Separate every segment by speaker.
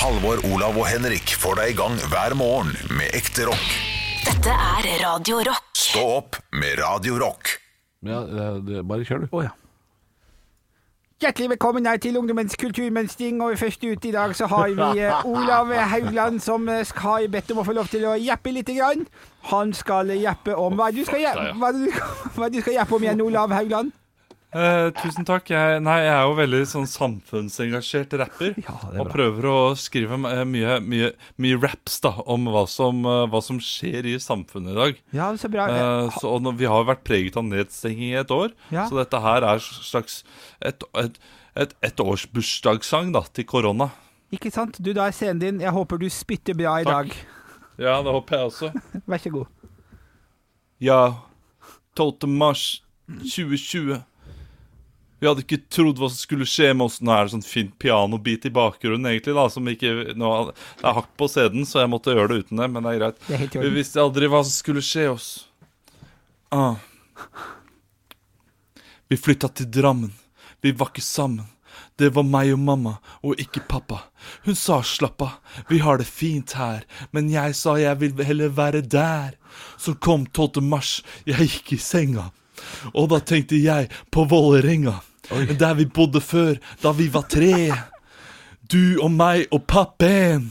Speaker 1: Halvor, Olav og Henrik får deg i gang hver morgen med ekte rock.
Speaker 2: Dette er Radio Rock.
Speaker 1: Stå opp med Radio Rock.
Speaker 3: Ja, det- det- bare kjør, du.
Speaker 4: Å ja. Hjertelig velkommen her til Ungdommens kulturmønstring, og først ut i dag så har vi eh, Olav Haugland som eh, sk- har bedt om å få lov til å jappe lite grann. Han skal jappe om Hva er det du skal jappe, hva er det du, hva er det du skal jappe om igjen, Olav Haugland?
Speaker 5: Eh, tusen takk. Jeg, nei, jeg er jo veldig sånn samfunnsengasjert rapper. og prøver å skrive m- eh, mye, mye, mye raps da, om hva som, eh, hva som skjer i samfunnet i dag.
Speaker 4: Ja, så bra.
Speaker 5: Eh, så, og nå- vi har vært preget av nedstenging i et år,
Speaker 4: Ja.
Speaker 5: så dette her er slags et, et, et, et års bursdagssang da, til korona.
Speaker 4: Ikke sant? Du, da er scenen din. Jeg håper du spytter bra i
Speaker 5: Takk.
Speaker 4: dag.
Speaker 5: Ja, det håper jeg også.
Speaker 4: Vær så god.
Speaker 5: Ja, 12. mars 2020. Vi hadde ikke trodd hva som skulle skje med oss. Nå er det sånn fint pianobit i bakgrunnen, egentlig. da, som ikke, nå, Det er hakk på CD-en, så jeg måtte gjøre det uten det, men det er greit.
Speaker 4: Det er helt i
Speaker 5: Vi
Speaker 4: orden.
Speaker 5: visste aldri hva som skulle skje oss. Ah. Vi flytta til Drammen. Vi var ikke sammen. Det var meg og mamma, og ikke pappa. Hun sa slapp av, vi har det fint her, men jeg sa jeg vil heller være der. Så kom 12. mars, jeg gikk i senga, og da tenkte jeg på Vålerenga. Der vi bodde før, da vi var tre. Du og meg og pappen.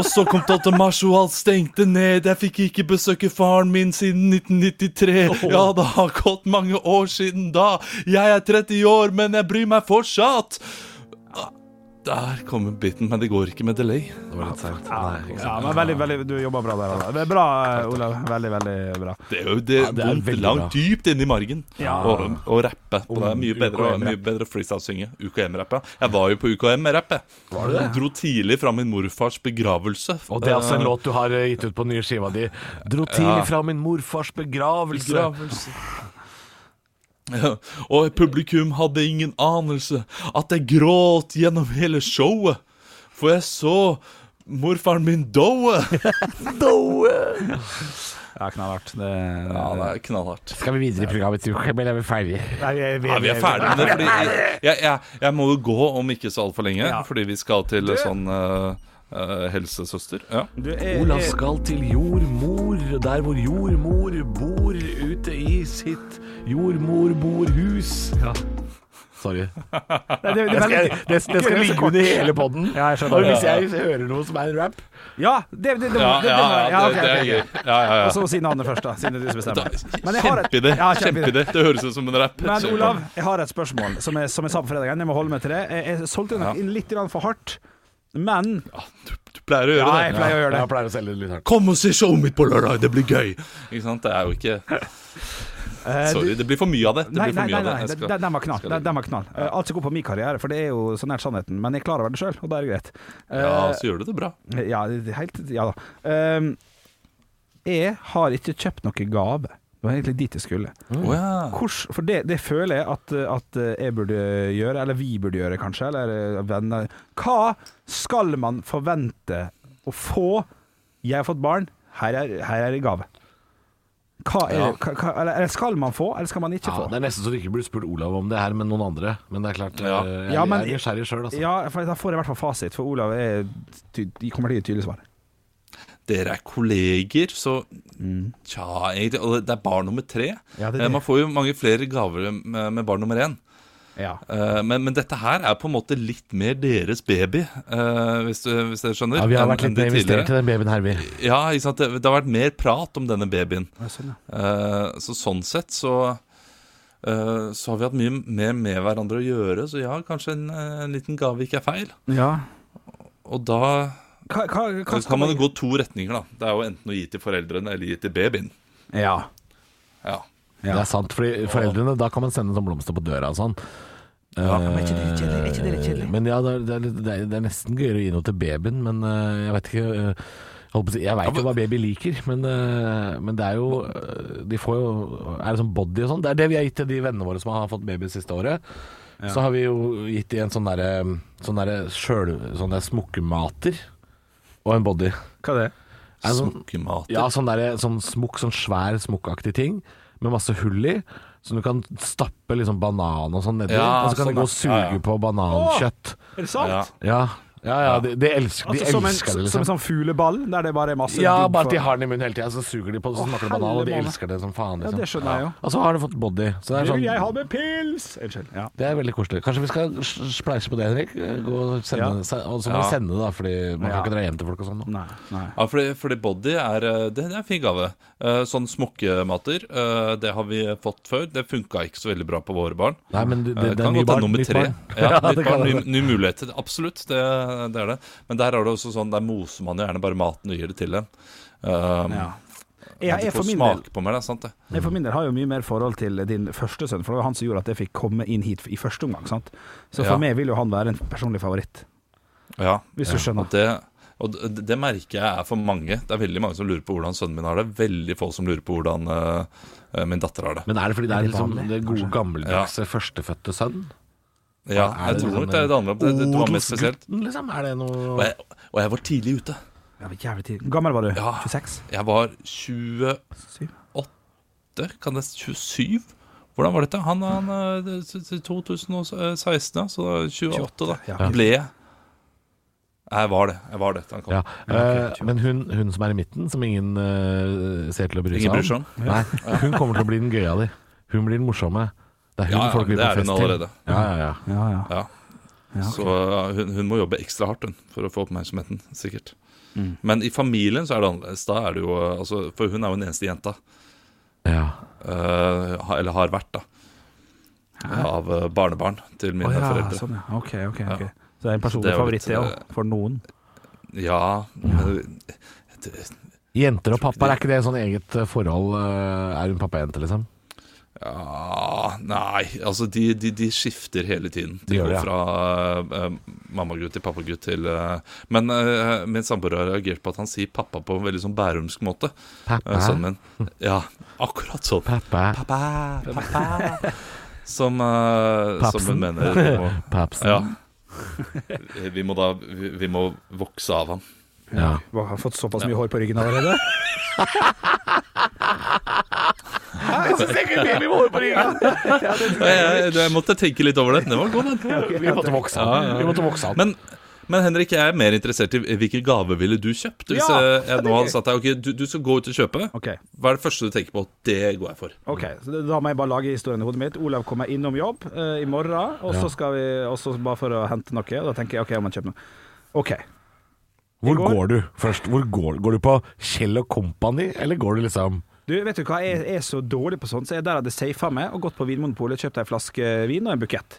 Speaker 5: Og så kom 12. mars, og alt stengte ned. Jeg fikk ikke besøke faren min siden 1993. Ja, det har gått mange år siden da. Jeg er 30 år, men jeg bryr meg fortsatt. Ah, Der kommer biten, men det går ikke med delay.
Speaker 3: Det var litt seint. Nei,
Speaker 6: Ja, men veldig, veldig, Du jobba bra der. Olav. Det er Bra, Olav. Veldig, veldig bra.
Speaker 5: Det er jo det,
Speaker 3: Ja, det er
Speaker 5: vondt
Speaker 3: veldig bra.
Speaker 5: langt dypt inni margen å, å rappe. på det er mye bedre,
Speaker 3: UKM-rapp.
Speaker 5: mye bedre freestyle-synge. UKM-rappe. Jeg var jo på UKM-rappe. Jeg dro tidlig fra min morfars begravelse.
Speaker 3: Og det er altså en låt du har eh, gitt ut på den nye skiva di. Dro tidlig fra min morfars begravelse.
Speaker 5: Ja, Og publikum hadde ingen anelse at jeg gråt gjennom hele showet. For jeg så morfaren min doe.
Speaker 6: Ja, knallhardt. Det,
Speaker 5: Ja, det er knallhardt.
Speaker 3: Skal vi videre i programmet, tror jeg, eller er vi ferdige?
Speaker 6: Nei, vi,
Speaker 5: Ja, vi er ferdig med det, fordi jeg, jeg, jeg, jeg må jo gå om ikke så altfor lenge,
Speaker 6: Ja.
Speaker 5: fordi vi skal til sånn eh, eh, helsesøster. Ja.
Speaker 6: Du, jeg,
Speaker 3: Olav
Speaker 6: jeg,
Speaker 3: skal til jordmor, der hvor jordmor bor ute i sitt jordmorborhus. Ja. Sorry.
Speaker 6: det, det,
Speaker 3: Det
Speaker 6: det, er
Speaker 3: skal,
Speaker 6: veldig-
Speaker 3: det, det skal
Speaker 6: Gøy, så
Speaker 3: ligge
Speaker 6: kort.
Speaker 3: under hele podden.
Speaker 6: Ja, jeg skjønner.
Speaker 3: Og hvis jeg hører noe som er en rap
Speaker 6: Ja, det, det, det, det,
Speaker 5: Ja,
Speaker 6: det,
Speaker 5: ja, ja,
Speaker 6: ja, ok,
Speaker 5: det, det er
Speaker 6: ok,
Speaker 5: gøy.
Speaker 6: ok.
Speaker 5: Ja, ja,
Speaker 6: Og
Speaker 5: ja.
Speaker 6: så si navnet først, da, siden det er du som bestemmer. Men jeg har et-
Speaker 5: Kjempeidé.
Speaker 6: Ja, kjempeidé.
Speaker 5: Kjempeidé. Det høres ut som en rapp.
Speaker 6: Men
Speaker 5: Kjempe-
Speaker 6: Olav, jeg har et spørsmål som jeg, som jeg sa på fredagen. Jeg må holde meg til det. Jeg, jeg solgte det nok inn litt grann for hardt, men
Speaker 5: Du pleier å
Speaker 6: Ja,
Speaker 5: gjøre
Speaker 6: jeg
Speaker 5: det.
Speaker 6: pleier å gjøre
Speaker 3: Jeg
Speaker 6: det.
Speaker 3: pleier å selge det litt hardt.
Speaker 5: Kom og se showet mitt på lørdag, det blir gøy! Ikke sant? Det er jo ikke
Speaker 6: Eh,
Speaker 5: Sorry, det blir for mye av det. det,
Speaker 6: Nei,
Speaker 5: blir for
Speaker 6: nei,
Speaker 5: mye
Speaker 6: nei,
Speaker 5: av det.
Speaker 6: nei
Speaker 5: Jeg skal-
Speaker 6: den, den var knall.
Speaker 5: skal-
Speaker 6: Den, den var knall. Eh, alt som går på min karriere, for det er jo så nært sannheten. Men jeg er klar over det sjøl, og da er det greit. Eh,
Speaker 5: Ja, så gjør du det bra.
Speaker 6: ja, det er helt Ja da. Ehm, jeg har ikke kjøpt noen gave. Det var egentlig dit jeg skulle.
Speaker 5: Å ja.
Speaker 6: Hvordan- for det, det føler jeg at, at jeg burde gjøre, eller vi burde gjøre kanskje, eller venner. Hva skal man forvente å få? Jeg har fått barn, her er, her er det gave. Hva er,
Speaker 3: Ja.
Speaker 6: hva, hva, eller eller skal man få, eller skal man ikke
Speaker 3: Ja,
Speaker 6: få?
Speaker 3: det er nesten så du ikke burde spurt Olav om det her, men noen andre. Men det er klart,
Speaker 5: Ja.
Speaker 3: eh, jeg,
Speaker 6: Ja, men-
Speaker 3: jeg er nysgjerrig sjøl, altså.
Speaker 6: Ja, for da får jeg i hvert fall fasit, for Olav er ty kommer til å gi et tydelig svar.
Speaker 5: Dere er kolleger, så
Speaker 3: Mm.
Speaker 5: tja, egentlig. Og det er barn nummer tre.
Speaker 6: Ja, det er
Speaker 5: Eh,
Speaker 6: det.
Speaker 5: Man får jo mange flere gaver med, med barn nummer én.
Speaker 6: Ja.
Speaker 5: Eh, Men, men dette her er på en måte litt mer deres baby, eh, hvis, du, hvis dere skjønner.
Speaker 3: Ja, vi har
Speaker 5: enn-
Speaker 3: vært litt
Speaker 5: enn de
Speaker 3: mer investert
Speaker 5: tidligere.
Speaker 3: i den babyen her, vi.
Speaker 5: Ja, ikke sant? Det, det har vært mer prat om denne babyen.
Speaker 6: sånn,
Speaker 5: Eh, Så sånn sett så eh, så har vi hatt mye mer med hverandre å gjøre, så ja, kanskje en, eh, en liten gave ikke er feil.
Speaker 6: ja.
Speaker 5: Og da
Speaker 6: Hva, hva, hva
Speaker 5: kan man jo gå to retninger, da. Det er jo enten å gi til foreldrene eller gi til babyen.
Speaker 6: Ja.
Speaker 5: Ja.
Speaker 3: Det er sant, fordi foreldrene, da kan man sende sånn blomster på døra og sånn. Eh,
Speaker 6: men er ikke det litt kjedelig? Er ikke det litt kjedelig?
Speaker 3: Men ja, det er, det er, litt- det er, det er nesten gøyere å gi noe til babyen, men eh, jeg vet ikke eh, jeg holdt på å si- jeg veit jo hva baby liker, men, eh, men det er jo eh, De får jo Er det sånn body og sånn? Det er det vi har gitt til de vennene våre som har fått baby siste året. Så har vi jo gitt de en sånn derre sånn derre sjøl... Sånn der smokkemater og en body.
Speaker 6: Hva er det?
Speaker 3: Er det sånn-
Speaker 5: Smokkemater.
Speaker 3: Ja, sånn, der, sånn smokk, sånn svær smokkaktig ting med masse hull i. Som du kan stappe liksom banan og sånn nedi.
Speaker 5: Ja,
Speaker 3: og så kan
Speaker 5: sånn,
Speaker 3: du gå og
Speaker 5: ja.
Speaker 3: suge
Speaker 5: Ja, ja.
Speaker 3: på banankjøtt.
Speaker 6: Er det sant?
Speaker 5: Ja.
Speaker 3: Ja, Ja, ja, de, de elsker, de
Speaker 6: Altså, som, en,
Speaker 3: elsker det,
Speaker 6: som en
Speaker 3: liksom.
Speaker 6: sånn fugleball, der det bare er masse
Speaker 3: Ja,
Speaker 6: digg
Speaker 3: bare at de
Speaker 6: for-
Speaker 3: har den i munnen hele tida, så suger de på det, så smaker det banan, og de
Speaker 6: helvete.
Speaker 3: elsker det som faen.
Speaker 6: Ja,
Speaker 3: Liksom.
Speaker 6: det skjønner jeg jo.
Speaker 3: Og så har du fått body. Så det, er
Speaker 6: Det vil jeg ha
Speaker 3: sånn,
Speaker 6: med pils! Unnskyld. Ja.
Speaker 3: det er veldig koselig. Kanskje vi skal s- spleise på det, Henrik? Gå og, sende,
Speaker 6: Ja.
Speaker 3: se- og så må
Speaker 5: Ja.
Speaker 3: vi sende det, da, fordi man kan
Speaker 6: Ja.
Speaker 3: ikke dra hjem til folk og sånn. nå.
Speaker 6: Nei, nei.
Speaker 5: Ja, fordi, fordi body er, eh, det, det er en fin gave. Eh, Sånn smokkemater, eh, det har vi fått før. Det funka ikke så veldig bra på våre barn.
Speaker 3: Nei, men du-
Speaker 5: Eh,
Speaker 3: det, det er
Speaker 5: kan
Speaker 3: ny
Speaker 5: godt ta
Speaker 3: barn,
Speaker 5: nummer
Speaker 3: nytt
Speaker 5: tre.
Speaker 3: barn.
Speaker 5: Ja,
Speaker 3: det
Speaker 5: nytt
Speaker 3: kan
Speaker 5: barn,
Speaker 3: det.
Speaker 5: ny, nye muligheter. Absolutt, det, det er det. Men der er det også sånn, der moser man jo gjerne bare maten og gir det til en. Um,
Speaker 6: Ja.
Speaker 5: ja,
Speaker 6: Jeg, jeg, for
Speaker 5: får
Speaker 6: min del,
Speaker 5: smak på meg, det er sant det.
Speaker 6: jeg for min del har jo mye mer forhold til din første sønn, for det var han som gjorde at jeg fikk komme inn hit i første omgang. sant? Så for
Speaker 5: Ja.
Speaker 6: meg vil jo han være en personlig favoritt,
Speaker 5: Ja,
Speaker 6: hvis du
Speaker 5: og
Speaker 6: skjønner.
Speaker 5: det, og det, det merker jeg er for mange. Det er veldig mange som lurer på hvordan sønnen min har det. Veldig få som lurer på hvordan eh, min datter har det.
Speaker 3: Men er det fordi det er
Speaker 6: Er det
Speaker 3: liksom
Speaker 6: vanlig,
Speaker 3: det gode, gammeldagse førstefødte sønn?
Speaker 5: Ja,
Speaker 3: Er
Speaker 5: jeg
Speaker 3: det
Speaker 5: tror
Speaker 3: liksom
Speaker 5: nok det er det handler om. Det, det, det var mest spesielt.
Speaker 3: Odelsgutten, liksom? Er det
Speaker 5: Og
Speaker 3: noe
Speaker 5: jeg, og jeg var tidlig ute.
Speaker 6: Ja, men jævlig tid. Gammel var du?
Speaker 5: Ja.
Speaker 6: 26?
Speaker 5: Jeg var 28,
Speaker 6: Syv?
Speaker 5: kan det 27? Hvordan var dette? Han han, eh, det- det- 2016, eh, ja. Så da, 28, da.
Speaker 6: Ja.
Speaker 5: Ble jeg. Jeg var det. Jeg var det. da Han kom.
Speaker 3: ja, eh, men hun, hun som er i midten, som ingen eh, ser til å bry
Speaker 5: Ingen bryr
Speaker 3: seg
Speaker 5: seg
Speaker 3: om, nei, hun kommer til å bli den gøye av de. Hun blir den morsomme. Det er hun
Speaker 5: Ja, ja,
Speaker 3: folk vil
Speaker 5: det
Speaker 3: på
Speaker 5: er hun
Speaker 3: fest til.
Speaker 5: allerede.
Speaker 3: Ja, ja, ja.
Speaker 6: Ja, ja.
Speaker 5: Ja. Så ja, hun, hun må jobbe ekstra hardt hun, for å få oppmerksomheten, sikkert. Men i familien så er det annerledes. Da er det jo, eh, altså, for hun er jo den eneste jenta.
Speaker 3: ja.
Speaker 5: eh, ha- eller har vært, da. Av eh, barnebarn til mine
Speaker 6: Å ja,
Speaker 5: foreldre.
Speaker 6: sånn, ja. Ok, ok.
Speaker 5: Ja.
Speaker 6: ok. Så det er en
Speaker 5: Så det
Speaker 6: personlig
Speaker 5: er jo
Speaker 6: favoritt, det
Speaker 5: litt,
Speaker 6: òg, for noen.
Speaker 5: Ja, men det-
Speaker 3: Jenter og pappaer, er ikke det sånn eget eh, forhold? eh, Er hun pappajente, liksom?
Speaker 5: ja Nei, altså de, de, de skifter hele tiden.
Speaker 3: De
Speaker 5: De
Speaker 3: gjør
Speaker 5: går
Speaker 3: det, ja.
Speaker 5: fra eh, eh, mammagutt til pappagutt til eh, Men eh, min samboer har reagert på at han sier pappa på en veldig sånn bærumsk måte. eh,
Speaker 3: Pappa?
Speaker 5: Sønnen min. Ja, akkurat sånn.
Speaker 3: Pappa?
Speaker 5: Pappa, pappa. Som, eh, som
Speaker 3: Papsen.
Speaker 5: hun mener vi må,
Speaker 3: Papsen?
Speaker 5: ja. vi må da vi, vi må vokse av ham.
Speaker 3: Ja.
Speaker 6: Hva, har fått såpass mye hår på ryggen allerede?
Speaker 3: Jeg syns jeg ikke baby må på ryggen!
Speaker 5: Jeg, jeg, jeg måtte tenke litt over det. Det var god, den.
Speaker 3: Vi måtte vokse av. Vi måtte vokse av.
Speaker 5: Men, men Henrik, jeg er mer interessert i hvilken gave ville du kjøpt? Hvis
Speaker 6: Ja,
Speaker 5: eh, jeg
Speaker 6: det er
Speaker 5: nå
Speaker 6: gøy.
Speaker 5: hadde sagt deg ok, du, du skal gå ut og kjøpe.
Speaker 6: Ok,
Speaker 5: Hva er det første du tenker på? Det går jeg for.
Speaker 6: ok, så det- Da må jeg bare lage historien i hodet mitt. Olav kommer innom jobb eh, i morgen, og så skal vi og så bare for å hente noe. Og da tenker jeg OK, jeg må kjøpe noe. OK.
Speaker 3: Hvor
Speaker 6: går-
Speaker 3: går du først? Hvor går, går du på Kjell og Company, eller går du liksom
Speaker 6: Du, vet du hva, jeg er så dårlig på sånt, så jeg der hadde safa meg og gått på Vinmonopolet, kjøpt ei flaske vin og en bukett.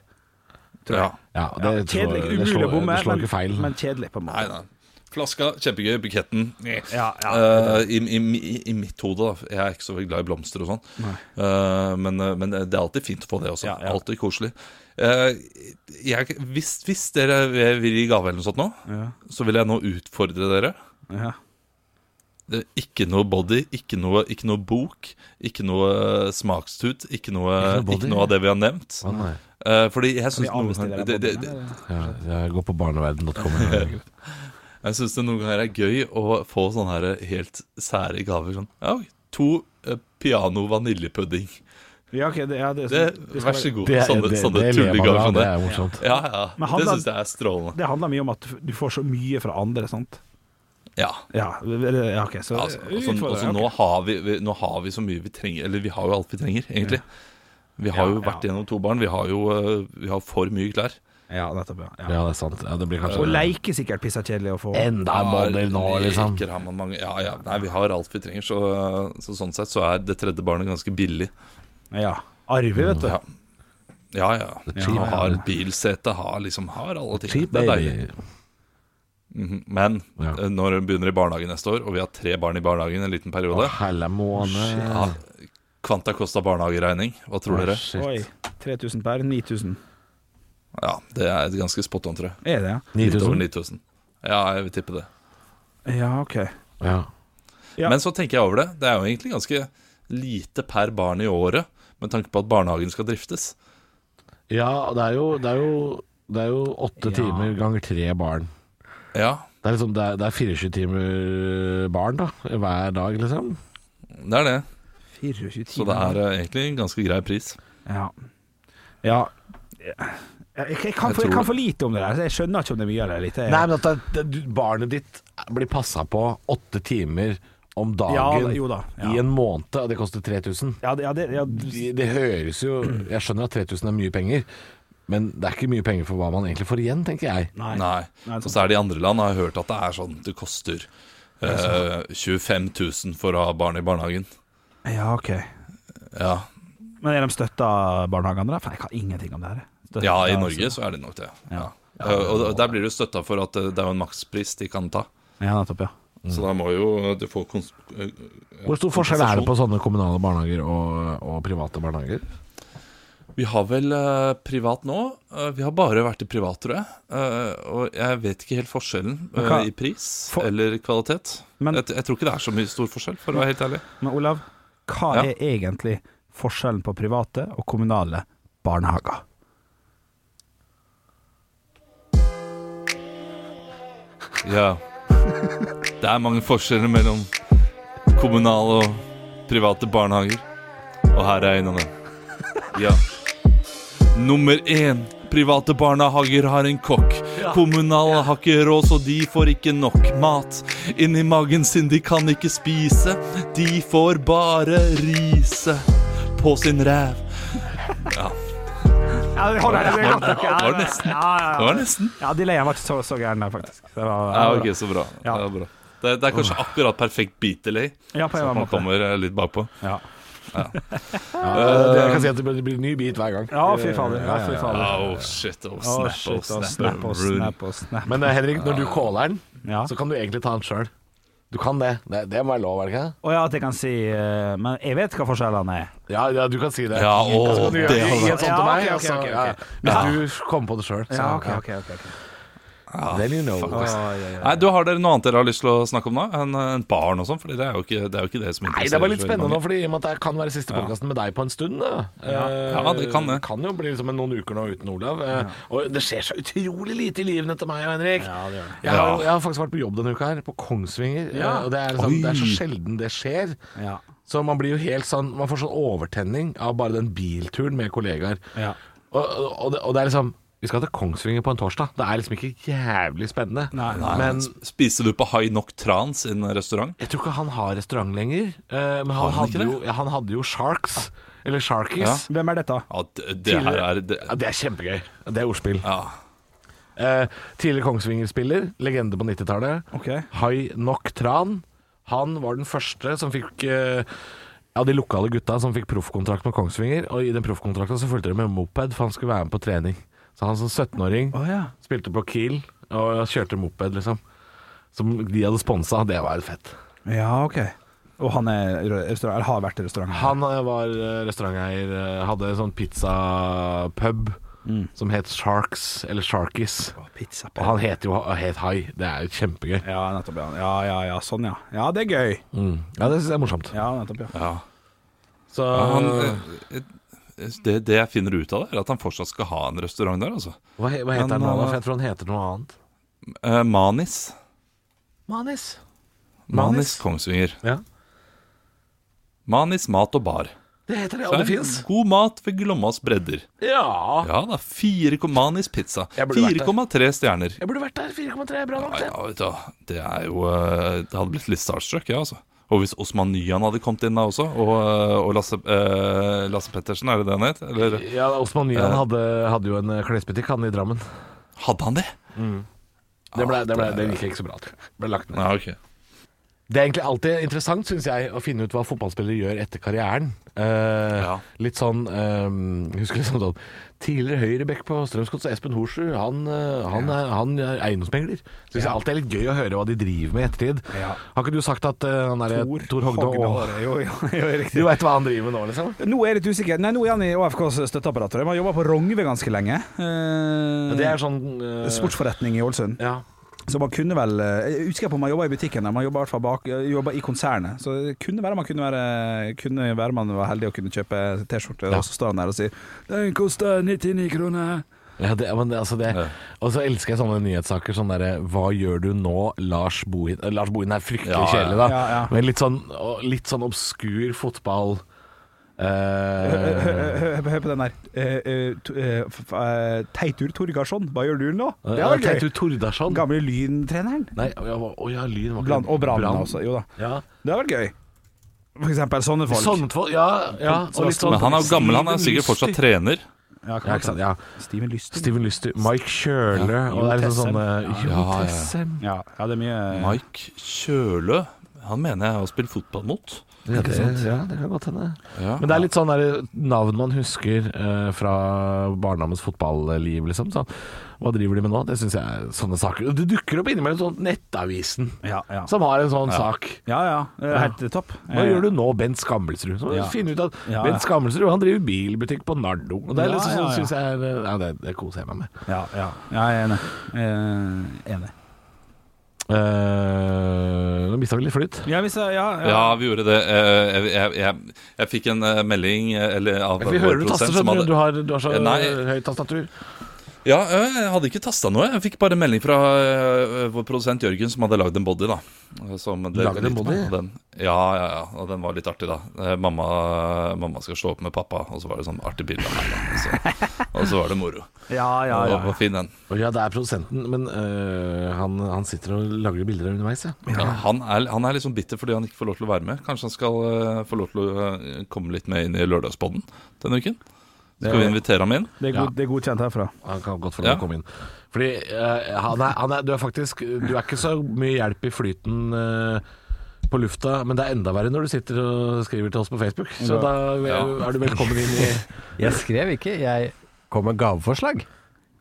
Speaker 5: Ja.
Speaker 3: Ja, det,
Speaker 6: Ja, kjedelig.
Speaker 3: slår, det,
Speaker 6: Umulig
Speaker 3: slår,
Speaker 6: å bomme,
Speaker 3: det slår
Speaker 6: men,
Speaker 3: ikke feil.
Speaker 6: men kjedelig, på en
Speaker 5: Nei,
Speaker 6: måte.
Speaker 5: nei. Flaska, kjempegøy. Buketten eh.
Speaker 6: Ja,
Speaker 5: Eh, i, i, i, I mitt hode, da. Jeg er ikke så veldig glad i blomster og sånn. Eh, men, eh, men det er alltid fint å få det også.
Speaker 6: Ja, ja.
Speaker 5: Alltid koselig. Eh, jeg, hvis, hvis dere vil gi gave eller noe sånt nå,
Speaker 6: Ja.
Speaker 5: så vil jeg nå utfordre dere.
Speaker 6: Ja.
Speaker 5: Det er ikke noe body, ikke noe, ikke noe bok, ikke noe eh, smakstut, ikke noe,
Speaker 3: Ikke noe
Speaker 5: ikke noe,
Speaker 3: body?
Speaker 5: av det vi har nevt.
Speaker 3: Å, nei.
Speaker 5: Eh, fordi jeg
Speaker 6: Kan vi
Speaker 5: syns noen
Speaker 6: avbestille
Speaker 5: ganger
Speaker 6: den
Speaker 5: det, det,
Speaker 6: podden,
Speaker 5: det,
Speaker 6: eller?
Speaker 3: Sånn Ja, jeg går på barneverden.com.
Speaker 5: Jeg synes det noen ganger er gøy å få sånne her helt sære gaver. Sånn. Ja, to eh, piano vaniljepudding.
Speaker 6: Ja, ok, det, ja, det,
Speaker 5: Det,
Speaker 6: det,
Speaker 5: vær
Speaker 6: skal,
Speaker 5: så god.
Speaker 3: Det,
Speaker 5: sånne
Speaker 3: det,
Speaker 5: sånne
Speaker 3: det ler man
Speaker 5: tullegaver.
Speaker 3: av,
Speaker 5: Sånn
Speaker 3: det
Speaker 5: der.
Speaker 3: er morsomt.
Speaker 5: ja, ja.
Speaker 6: Men han
Speaker 5: Det
Speaker 6: da-
Speaker 5: syns jeg er strålende.
Speaker 6: det handler mye om at du får så mye fra andre, sant?
Speaker 5: Ja.
Speaker 6: Ja, eller- ja OK, så
Speaker 5: Altså, altså,
Speaker 6: utfordrer,
Speaker 5: altså,
Speaker 6: ok.
Speaker 5: nå, har vi, vi, nå har vi så mye vi trenger Eller vi har jo alt vi trenger, egentlig. Vi har jo vært gjennom to barn. Vi har jo eh, vi har for mye klær.
Speaker 6: Ja, nettopp. Ja. Ja.
Speaker 3: Ja, det er sant. Ja, det blir
Speaker 6: Og
Speaker 3: kanskje
Speaker 6: leike sikkert pisser kjedelig å få.
Speaker 3: enda en modell nå, liksom.
Speaker 5: Leker har man mange Ja, ja. Nei, vi har alt vi trenger. Så, så sånn sett så er det tredje barnet ganske billig.
Speaker 6: Ja. Arve, vet du.
Speaker 5: Ja, ja. ja.
Speaker 3: Cheap.
Speaker 5: Han har et bilsete, har liksom har alle ting.
Speaker 3: Cheap
Speaker 5: Det er
Speaker 3: baby.
Speaker 5: deilig. Mhm. Men
Speaker 3: Ja.
Speaker 5: eh, når hun begynner i barnehagen neste år, og vi har tre barn i barnehagen en liten periode
Speaker 3: Helle måned.
Speaker 5: ja, Kvanta kosta barnehageregning, hva tror dere?
Speaker 6: Oi. 3000 per 9000.
Speaker 5: Ja, Det er ganske spot on, tror jeg.
Speaker 6: Er det, ja?
Speaker 5: Litt over
Speaker 3: 9000.
Speaker 5: 9000. Ja, jeg vil tippe det.
Speaker 6: Ja, OK.
Speaker 3: Ja.
Speaker 6: Ja.
Speaker 5: Men så tenker jeg over det. Det er jo egentlig ganske lite per barn i året, med tanke på at barnehagen skal driftes.
Speaker 3: ja, det er jo Det er jo, det er jo åtte
Speaker 6: Ja.
Speaker 3: timer ganger tre barn.
Speaker 5: Ja,
Speaker 3: Det er, liksom, det, er, det er 24 timer barn da hver dag, liksom.
Speaker 5: det er det.
Speaker 6: 24 timer.
Speaker 5: Så det er eh, egentlig en ganske grei pris.
Speaker 6: Ja. ja. Jeg, jeg, kan, for,
Speaker 3: tror-
Speaker 6: jeg kan for lite om det der, så jeg skjønner ikke om det er mye eller lite.
Speaker 3: Nei, men at det- det, du- barnet ditt blir passa på åtte timer om
Speaker 6: Ja,
Speaker 3: dagen
Speaker 6: det- jo da, ja.
Speaker 3: i en måned, og det koster 3000.
Speaker 6: ja, det, ja, det, ja,
Speaker 3: Det det høres jo Jeg skjønner at 3000 er mye penger, men det er ikke mye penger for hva man egentlig får igjen, tenker jeg.
Speaker 6: nei.
Speaker 5: Nei.
Speaker 6: Nei,
Speaker 5: Og så er det i andre land, har jeg hørt at det er sånn Det koster eh, 25 000 for å ha barn i barnehagen.
Speaker 6: Ja, ok.
Speaker 5: Ja,
Speaker 6: Men er de støtta barnehagene, da? For jeg kan ingenting om det her. Støtta,
Speaker 5: ja i
Speaker 6: altså.
Speaker 5: Norge så er det nok det. Ja. Eh, og der blir du støtta for at eh, det er jo en makspris de kan ta.
Speaker 6: Ja, nettopp, ja.
Speaker 5: Så da må jo du få kons... eh,
Speaker 3: Hvor stor forskjell er det på sånne kommunale barnehager og, og private barnehager?
Speaker 5: Vi har vel eh, privat nå. Eh, vi har bare vært i privat, tror jeg. Eh, og jeg vet ikke helt forskjellen eh,
Speaker 6: hva-
Speaker 5: i pris
Speaker 6: For-
Speaker 5: eller kvalitet.
Speaker 6: Men-
Speaker 5: jeg, jeg tror ikke det er så mye stor forskjell, for å være helt ærlig.
Speaker 6: Men Olav, hva
Speaker 5: Ja.
Speaker 6: er egentlig forskjellen på private og kommunale barnehager?
Speaker 5: Ja. Det er mange forskjeller mellom kommunale og private barnehager. Og her er en av dem. Ja. Nummer én. Private barnehager har en kokk. Kommunale har ikke råd, så de får ikke nok mat. Inni magen sin de kan ikke spise. De får bare riset på sin ræv.
Speaker 6: Ja, det holder jeg. Det er godt nok. Ja,
Speaker 5: Det var nesten.
Speaker 6: Ja, ja,
Speaker 5: Det
Speaker 6: ja.
Speaker 5: var nesten.
Speaker 6: ja dilemmaet var ikke så, så gæren der, faktisk. Det var,
Speaker 5: Ja, ok, så bra. Det
Speaker 6: Ja.
Speaker 5: er, bra. Det, det er kanskje akkurat perfekt beat delay.
Speaker 6: ja, på
Speaker 5: Så
Speaker 6: en
Speaker 5: man
Speaker 6: måte.
Speaker 5: kommer eh, litt bakpå.
Speaker 6: Ja.
Speaker 3: det, jeg kan si at det blir ny bit hver gang.
Speaker 6: ja, fy fader. Ja, fy fader.
Speaker 5: Oh shit, oh
Speaker 6: Å,
Speaker 5: snap,
Speaker 6: shit,
Speaker 5: oh
Speaker 6: å,
Speaker 5: snap,
Speaker 6: snap og
Speaker 5: Rudy.
Speaker 6: snap og snap.
Speaker 3: Men eh, Henrik, når du caller den,
Speaker 6: Ja.
Speaker 3: så kan du egentlig ta den sjøl. Du kan det. det. Det må være lov, er det ikke? det?
Speaker 6: Å ja, at jeg kan si eh, Men jeg vet hva forskjellene er.
Speaker 3: Ja, ja, du kan si det.
Speaker 5: Ja, å,
Speaker 3: Så kan du
Speaker 5: det
Speaker 3: gjøre-
Speaker 5: hadde
Speaker 3: gi
Speaker 5: vært-
Speaker 3: en sånn
Speaker 6: Ja,
Speaker 3: til meg,
Speaker 6: ok, ok,
Speaker 3: altså.
Speaker 6: ok, ok.
Speaker 3: Ja. Hvis du kommer på det sjøl, så
Speaker 6: ok, ok.
Speaker 3: ja. Then you know.
Speaker 5: Nei, du Har dere noe annet dere har lyst til å snakke om da? Enn en barn og sånn? For det er jo ikke det, er jo ikke det som
Speaker 3: Nei,
Speaker 5: interesserer
Speaker 3: det var litt
Speaker 5: så veldig
Speaker 3: spennende nå,
Speaker 5: mange.
Speaker 3: fordi i og med at det kan være siste podkasten med deg på en stund. Da. Eh,
Speaker 5: Ja, det kan det.
Speaker 3: jo bli liksom en- noen uker nå uten Olav. eh, Og det skjer så utrolig lite i livene til meg og Henrik. Jeg, har,
Speaker 5: Ja.
Speaker 3: jeg har faktisk vært på jobb denne uka her, på Kongsvinger. eh, Og det er, sånn, det er så sjelden det skjer.
Speaker 6: Ja.
Speaker 3: Så man blir jo helt sånn Man får sånn overtenning av bare den bilturen med kollegaer.
Speaker 6: Ja.
Speaker 3: Og, og, og det, og det er liksom Vi skal til Kongsvinger på en torsdag. Det er liksom ikke jævlig spennende. men
Speaker 5: Spiste du på High Nok Tran sin restaurant?
Speaker 3: jeg tror ikke han har restaurant lenger, eh, men
Speaker 5: Har
Speaker 3: han,
Speaker 5: han ikke
Speaker 3: hadde
Speaker 5: det?
Speaker 3: jo, ja, han hadde jo Sharks. Eller Sharkies.
Speaker 6: Hvem er dette?
Speaker 5: Ja, det, det her er det,
Speaker 3: Ja, det er kjempegøy. Det er ordspill.
Speaker 5: ja.
Speaker 3: Eh, tidligere Kongsvinger-spiller, legende på 90-tallet.
Speaker 6: Ok.
Speaker 3: Hai Nok Tran. Han var den første som fikk eh, ja, de lokale gutta som fikk proffkontrakt med Kongsvinger. Og i den proffkontrakten så fulgte det med moped, for han skulle være med på trening. Så han som 17-åring
Speaker 6: Å ja.
Speaker 3: spilte på Kiel og kjørte moped, liksom. Som de hadde sponsa. Det var fett.
Speaker 6: Ja, ok. Og han er rø- restaurant, eller har vært i restaurant?
Speaker 3: Han eh, var eh, restauranteier, eh, hadde en sånn pizzapub som het Sharks, eller Sharkies.
Speaker 6: Å, Pizza
Speaker 3: Og han heter jo het Hai. Det er jo kjempegøy.
Speaker 6: Ja, nettopp. Ja. ja, ja, ja. Sånn, ja. Ja, det er gøy.
Speaker 3: Ja, det syns jeg er morsomt.
Speaker 6: Ja, nettopp, ja.
Speaker 5: ja.
Speaker 3: Så
Speaker 5: ja han,
Speaker 6: Øh.
Speaker 5: eh, eh, det, det jeg finner ut av det, er at han fortsatt skal ha en restaurant der, altså.
Speaker 3: hva, he- hva heter
Speaker 5: han,
Speaker 3: han nå, da?
Speaker 5: eh,
Speaker 3: For jeg tror han heter noe annet.
Speaker 5: Eh, Manis.
Speaker 3: Manis.
Speaker 5: Manis Kongsvinger.
Speaker 3: Ja.
Speaker 5: Manis mat og bar.
Speaker 3: Det heter det,
Speaker 5: Så
Speaker 3: og
Speaker 5: er
Speaker 3: det fins.
Speaker 5: God mat ved Glommas bredder.
Speaker 3: Ja.
Speaker 5: Ja da, 4, Manis pizza.
Speaker 3: Jeg burde vært der.
Speaker 5: 4,3 stjerner.
Speaker 3: Jeg burde vært der. 4,3 er bra nok,
Speaker 5: Ja,
Speaker 3: det.
Speaker 5: ja, vet du, hva, det er jo eh, Det hadde blitt litt starstruck, jeg, ja, altså. Og hvis Osman Nyan hadde kommet inn da også, og, eh, og Lasse, eh, Lasse Pettersen, er det det han het? Eller
Speaker 3: Ja, Osman Nyan hadde, hadde jo en eh, klesbutikk, han i Drammen.
Speaker 5: hadde han det?
Speaker 3: Det, ble, det, ble, det gikk ikke så bra. tror jeg. Ble lagt ned.
Speaker 5: Ja, ok.
Speaker 3: Det er egentlig alltid interessant, syns jeg, å finne ut hva fotballspillere gjør etter karrieren. Eh,
Speaker 5: Ja.
Speaker 3: Litt sånn eh, Husker liksom sånn Tidligere høyrebekk på Strømsgodt, så Espen Horsrud, han, eh, han, er- han er eiendomsmegler. Syns jeg alltid er litt gøy å høre hva de driver med i ettertid.
Speaker 6: Ja.
Speaker 3: Har ikke du sagt at eh, han derre Tor, Hogna
Speaker 6: Hogna,
Speaker 3: og
Speaker 6: Jo, jo, jo, riktig.
Speaker 3: Du veit hva han driver med nå, liksom?
Speaker 6: Nå er jeg litt usikker. Nei, nå er han i AFKs støtteapparat. tror jeg. Han har jobba på Rognve ganske lenge. Eh,
Speaker 3: Det er sånn eh,
Speaker 6: Sportsforretning i Ålesund.
Speaker 3: Ja.
Speaker 6: Så man kunne vel eh, Jeg husker ikke om han jobba i butikken, men han jobba i, hvert fall bak- eh, jobbet i konsernet. Så det kunne være man kunne være, kunne være man var heldig og kunne kjøpe T-skjorte,
Speaker 3: Ja.
Speaker 6: og så står han der og sier 'Den koster 99 kroner'.
Speaker 3: ja det, men det- altså det,
Speaker 5: Ja.
Speaker 3: og så elsker jeg sånne nyhetssaker. Sånn derre Hva gjør du nå, Lars Bohin? Eh, Lars Bohin er fryktelig
Speaker 5: Ja, ja.
Speaker 3: kjedelig, da.
Speaker 6: Ja, ja.
Speaker 3: Men litt sånn, og litt sånn obskur fotball Eh,
Speaker 6: Hør hør- hør på den her. Eh, eh, to- eh, f- f- eh, Teitur Torgarsson, hva gjør du nå? Det
Speaker 3: ja,
Speaker 6: var
Speaker 3: Eh, Teitur
Speaker 6: gøy.
Speaker 3: Tordarsson.
Speaker 6: Gamle Lyn-treneren.
Speaker 3: Nei, å ja, å ja, Lyn var ikke
Speaker 6: Blant- Og Brann
Speaker 3: Brann.
Speaker 6: også. Jo da.
Speaker 3: Ja.
Speaker 6: Det hadde vært gøy. For eksempel sånne folk.
Speaker 3: Sandvold, ja. ja. og litt sånn-
Speaker 5: Men han er jo gammel, han er
Speaker 3: Steven
Speaker 5: sikkert fortsatt
Speaker 3: Lyster.
Speaker 5: trener.
Speaker 6: Ja,
Speaker 3: Ja, ikke sant. Ja.
Speaker 6: Steven Lyster.
Speaker 3: Steven Lyster, Mike Kjøle
Speaker 6: Jo
Speaker 3: og det er liksom
Speaker 6: Tessem.
Speaker 3: sånne Jo
Speaker 5: Ja, ja.
Speaker 3: Tessem.
Speaker 6: Ja, ja, det er mye
Speaker 5: Mike Kjølø. Han mener jeg har spilt fotball mot.
Speaker 3: Ja, det, ja, det kan godt hende.
Speaker 5: Ja.
Speaker 3: Men det er litt sånn der, navn man husker eh, fra barndommens fotballiv, liksom. Sånn. Hva driver de med nå? Det syns jeg er sånne saker. Det dukker opp innimellom sånn Nettavisen,
Speaker 6: Ja, ja.
Speaker 3: som har en sånn sak.
Speaker 6: Ja, ja. eh, Helt topp.
Speaker 3: Hva gjør du nå, Bent Skammelsrud? Så må
Speaker 6: Ja.
Speaker 3: du finne ut at
Speaker 6: Ja, ja.
Speaker 3: Bent Skammelsrud han driver bilbutikk på Nardo. Og det er
Speaker 6: Ja,
Speaker 3: liksom
Speaker 6: ja,
Speaker 3: sånn,
Speaker 6: ja.
Speaker 3: synes jeg er, eh, ja, det, det koser jeg meg med.
Speaker 6: Ja, ja. ja jeg er enig. Eh, enig.
Speaker 3: Eh, nå mista vi litt flyt.
Speaker 6: Ja, hvis jeg, ja, ja.
Speaker 5: Ja, vi gjorde det. Eh, Jeg, jeg, jeg, jeg fikk en eh, melding eh, eller, av
Speaker 3: Vi hører du taster,
Speaker 5: produsent som
Speaker 3: skjønner du.
Speaker 5: hadde-
Speaker 3: Du har, du har så
Speaker 5: Eh, nei.
Speaker 3: høy tastatur.
Speaker 5: Ja, eh, jeg hadde ikke tasta noe. Jeg fikk bare melding fra eh, vår produsent Jørgen, som hadde lagd en body. da Eh, som delte
Speaker 3: Lagde en
Speaker 5: litt med,
Speaker 3: body?
Speaker 5: og Den, ja, ja, ja. Og den var litt artig, da. Eh, Mamma, mamma skal slå opp med pappa, og så var det sånn artig bilde av meg. Da. Og, så, og så var det moro.
Speaker 6: Ja, ja,
Speaker 5: Det
Speaker 6: ja.
Speaker 5: var- var fin, den.
Speaker 3: Å Ja, det er produsenten, men øh, han, han sitter og lager bilder underveis, ja.
Speaker 5: Ja, han, er, han er liksom bitter fordi han ikke får lov til å være med. Kanskje han skal eh, få lov til å eh, komme litt med inn i lørdagspodden denne uken? Skal vi invitere ham inn?
Speaker 6: Det er,
Speaker 3: Ja.
Speaker 6: god, det er godkjent herfra.
Speaker 3: Han kan godt få lov til
Speaker 5: Ja.
Speaker 3: å komme inn. Fordi øh, han er, han er, du er faktisk Du er ikke så mye hjelp i flyten øh, på lufta, men det er enda verre når du sitter og skriver til oss på Facebook. Så da er,
Speaker 5: Ja.
Speaker 3: er du velkommen inn i
Speaker 7: Jeg skrev ikke, jeg kom med gaveforslag.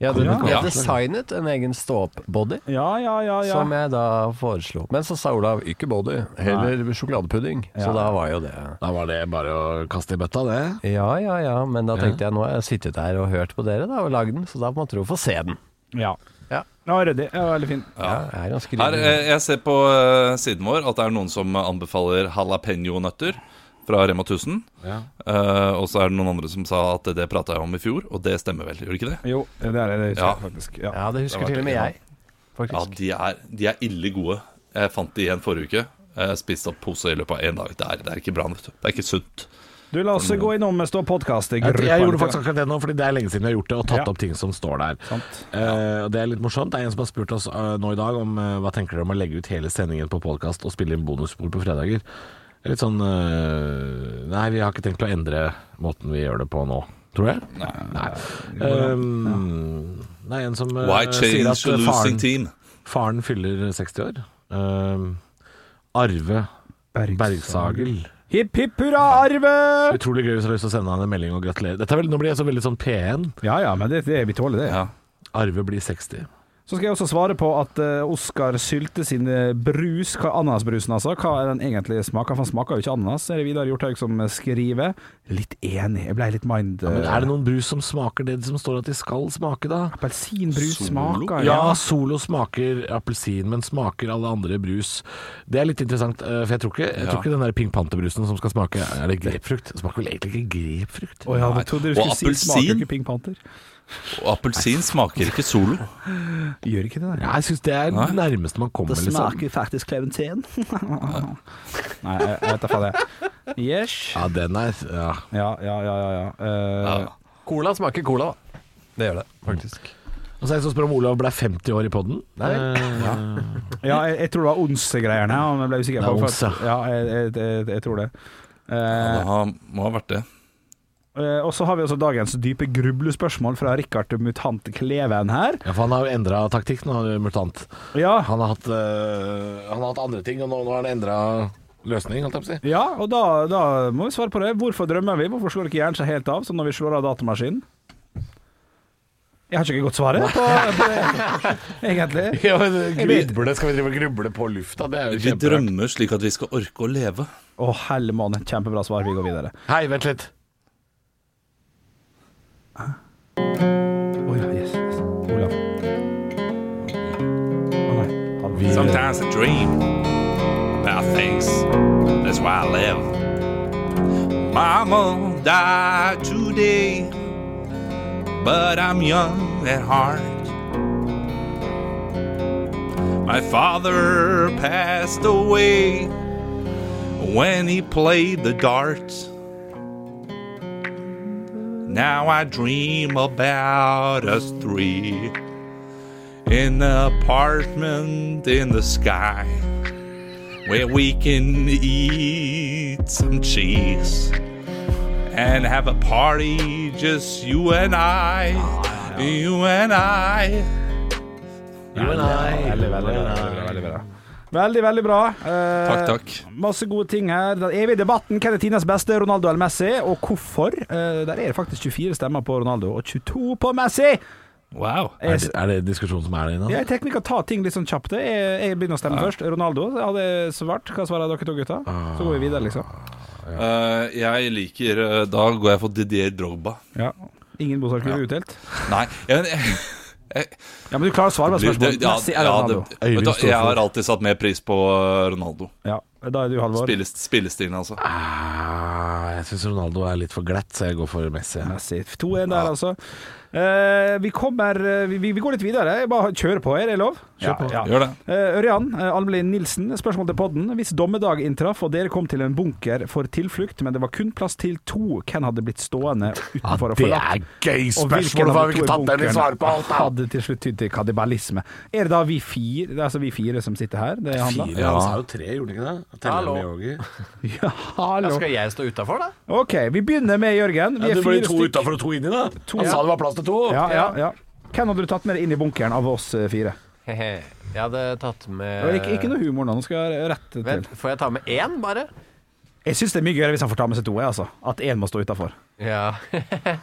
Speaker 7: Jeg, hadde,
Speaker 6: Ja.
Speaker 7: jeg designet en egen stå-opp-body,
Speaker 6: Ja, ja, ja. ja.
Speaker 7: som jeg da foreslo. Men så sa Olav ikke body, heller sjokoladepudding. Så da var jo det
Speaker 3: Da var det bare å kaste i bøtta, det.
Speaker 7: Ja, ja, ja, men da tenkte jeg nå har jeg sittet her og hørt på dere da og lagd den, så da måtte du få se den.
Speaker 6: Ja.
Speaker 7: Ja.
Speaker 6: Ja, ryddig. Ja, veldig fin.
Speaker 7: Ja, jeg er ganske
Speaker 5: Her,
Speaker 7: lydig.
Speaker 5: eh, jeg ser på eh, siden vår at det er noen som anbefaler jalapeño-nøtter fra Rema 1000. Eh, og så er det noen andre som sa at det prata jeg om i fjor, og det stemmer vel? Gjør det ikke det?
Speaker 6: Jo, det er det, det husker
Speaker 5: Ja.
Speaker 6: jeg faktisk. Ja.
Speaker 7: Ja, det
Speaker 5: Det
Speaker 7: husker
Speaker 5: var
Speaker 7: til og med
Speaker 5: ikke
Speaker 7: jeg, faktisk.
Speaker 5: Ja, de er, de er ille gode. Jeg fant de igjen forrige uke. Jeg spiste opp pose i løpet av én dag. Det er, det er ikke bra. vet du. Det er ikke sunt.
Speaker 6: Du, la oss gå innom eh, Stå podkast.
Speaker 3: Jeg, jeg gjorde faktisk akkurat det nå, fordi det er lenge siden vi har gjort det, og tatt
Speaker 6: Ja.
Speaker 3: opp ting som står der.
Speaker 6: Sant.
Speaker 3: Eh, og det er litt morsomt. Det er en som har spurt oss eh, nå i dag om eh, hva tenker dere om å legge ut hele sendingen på podkast og spille inn bonusspor på fredager. Det er Litt sånn eh, Nei, vi har ikke tenkt å endre måten vi gjør det på nå. Tror jeg. Nei. Nei. Um, det er en som eh,
Speaker 5: Why
Speaker 3: sier
Speaker 5: change
Speaker 3: at
Speaker 5: the
Speaker 3: eh,
Speaker 5: losing
Speaker 3: faren,
Speaker 5: team?
Speaker 3: faren fyller 60 år. Um, Arve Bergsagel.
Speaker 6: Hipp hipp hurra, Arve!
Speaker 3: Utrolig gøy hvis du har lyst til å sende han en melding og gratulere. Dette er vel, nå blir jeg så veldig sånn P1.
Speaker 6: Ja ja, men det, det, vi tåler det.
Speaker 5: Ja.
Speaker 3: Arve blir 60.
Speaker 6: Så skal jeg også svare på at eh, Oskar Sylte sin eh, brus, hva ananasbrusen altså, hva er den egentlig smaker? For han smaker jo ikke ananas, er det Vidar Hjorthaug som eh, skriver. Litt enig, jeg ble litt mind...
Speaker 3: Men er det noen brus som smaker det som står at de skal smake, da?
Speaker 6: eh, Appelsinbrus
Speaker 5: Solo?
Speaker 6: smaker
Speaker 3: Ja, Solo smaker appelsin, men smaker alle andre brus. Det er litt interessant, eh, for jeg tror ikke, jeg tror ikke den der Pink Panther-brusen som skal smake Er det grepfrukt? Det smaker vel egentlig ikke grepfrukt?
Speaker 6: Å ja,
Speaker 5: Nei.
Speaker 6: jeg trodde du
Speaker 5: Og
Speaker 6: skulle si smaker jo
Speaker 5: appelsin?
Speaker 6: ikke Pink Panther.
Speaker 5: Og appelsin smaker ikke solo.
Speaker 6: Gjør ikke det der.
Speaker 3: Nei, jeg syns det er
Speaker 5: Nei.
Speaker 3: det nærmeste man kommer. Liksom.
Speaker 6: faktisk klementin. Nei, jeg, jeg vet da faen det. Yes.
Speaker 3: Ja, den er ja.
Speaker 6: Ja, ja, ja, ja. ja. Eh,
Speaker 5: Ja.
Speaker 7: Cola smaker cola, da. Det gjør det, faktisk.
Speaker 3: Og så er det en som spør om Olav ble 50 år i Eh, poden.
Speaker 7: Nei.
Speaker 3: ja.
Speaker 6: ja jeg, jeg tror det var onsegreierne, om jeg ble usikker
Speaker 3: Det er
Speaker 6: på. for-
Speaker 3: onse.
Speaker 6: Ja, jeg, jeg, jeg, jeg tror det.
Speaker 5: Ja, det
Speaker 6: Eh,
Speaker 5: har- må ha vært det.
Speaker 6: eh, og så har vi også dagens dype grublespørsmål fra Rikard Mutant Kleven her.
Speaker 3: ja, for han har jo endra taktikk nå, Mutant.
Speaker 6: Ja,
Speaker 3: Han har hatt, eh, han har hatt andre ting, og nå, nå har han endra løsning, holdt jeg på å si.
Speaker 6: ja og da, da må vi svare på det. Hvorfor drømmer vi? Hvorfor slår ikke hjernen seg helt av, som når vi slår av datamaskinen? Jeg har ikke godt svaret på, på det, egentlig.
Speaker 3: Ja, men gruble, Skal vi drive og gruble på lufta? Det er jo
Speaker 5: Vi
Speaker 3: kjemperart.
Speaker 5: drømmer slik at vi skal orke å leve.
Speaker 6: Å, hellemann. Kjempebra svar. Vi går videre.
Speaker 3: Hei, vent litt.
Speaker 6: Oi, yes, yes. Olav. Å nei. Han-
Speaker 5: Sometimes I dream about things. That's why I live. Mama died today, but I'm young at heart. My father passed away when he played the darts. Now I dream about us three in an apartment in the sky where we can eat some cheese and have a party just you and I. You and I.
Speaker 6: Veldig, veldig, veldig, veldig bra. Veldig, veldig bra. Eh,
Speaker 5: Takk, takk.
Speaker 6: Masse gode ting her. Den evige debatten hvem er Tinas beste, Ronaldo eller Messi, og hvorfor. Eh, der er det faktisk 24 stemmer på Ronaldo og 22 på Messi!
Speaker 5: Wow.
Speaker 3: Er
Speaker 6: Jeg,
Speaker 3: det, er det diskusjonen som er der inne?
Speaker 6: jeg tenker vi kan ta ting litt sånn kjapt. Jeg, jeg begynner å stemme først. Ronaldo jeg hadde svart. Hva svarer dere to gutta? Så går vi videre, liksom.
Speaker 5: Ah. Eh, jeg liker eh, Da går jeg for Didier Drogba.
Speaker 6: Ja. Ingen bosaker
Speaker 5: Ja.
Speaker 6: utdelt?
Speaker 5: Nei jeg, jeg,
Speaker 6: Ja, men du klarer å svare på
Speaker 5: blir- det-
Speaker 6: spørsmålet.
Speaker 5: ja,
Speaker 6: Messi eller
Speaker 5: ja, det,
Speaker 6: Ronaldo?
Speaker 5: vet du, hva, Jeg har alltid satt mer pris på eh, Ronaldo.
Speaker 6: Ja, da er du Halvor.
Speaker 5: Spillest, spillestilen, altså.
Speaker 3: Ah, jeg syns Ronaldo er litt for glatt, så jeg går for Messi.
Speaker 6: Messi. 2-1 der, altså. Eh, vi kommer eh, vi, vi går litt videre. Jeg bare kjører på her, er det lov? Kjør på. Ja, ja.
Speaker 5: Gjør det.
Speaker 6: Eh, Ørjan uh, Almelin Nilsen, spørsmål til podden. Hvis dommedag inntraff og dere kom til en bunker for tilflukt, men det var kun plass til to, hvem hadde blitt stående utenfor og
Speaker 3: det
Speaker 6: forlatt?
Speaker 3: er gøy
Speaker 6: Og
Speaker 3: spørsmål! Hvorfor har vi ikke tatt den i Ah, svar på alt? da?
Speaker 6: Hadde til slutt tydd til kannibalisme. Er det da vi fire, det er altså vi fire som sitter her? Det er han da?
Speaker 3: Fire, han sa jo tre, gjorde han ikke det? Teller
Speaker 7: Hallo.
Speaker 3: med yogi.
Speaker 6: Ja, hallo.
Speaker 7: Skal jeg stå utafor, da?
Speaker 6: OK, vi begynner med Jørgen. Vi
Speaker 3: Ja,
Speaker 6: er
Speaker 3: det ble
Speaker 6: fire
Speaker 3: to
Speaker 6: stykk.
Speaker 3: utafor og to inni, da. Han
Speaker 6: Ja.
Speaker 3: sa det var plass til to.
Speaker 6: Ja, ja, ja. Hvem hadde du tatt med deg inn i bunkeren av oss eh, fire?
Speaker 7: jeg hadde tatt
Speaker 6: Det var
Speaker 7: med
Speaker 6: Ikke, ikke noe humor nå, nå skal jeg rette til.
Speaker 7: Vent, får jeg ta med én, bare?
Speaker 6: Jeg syns det er mye gøyere hvis han får ta med seg to, jeg, altså. At én må stå utafor.
Speaker 7: Ja.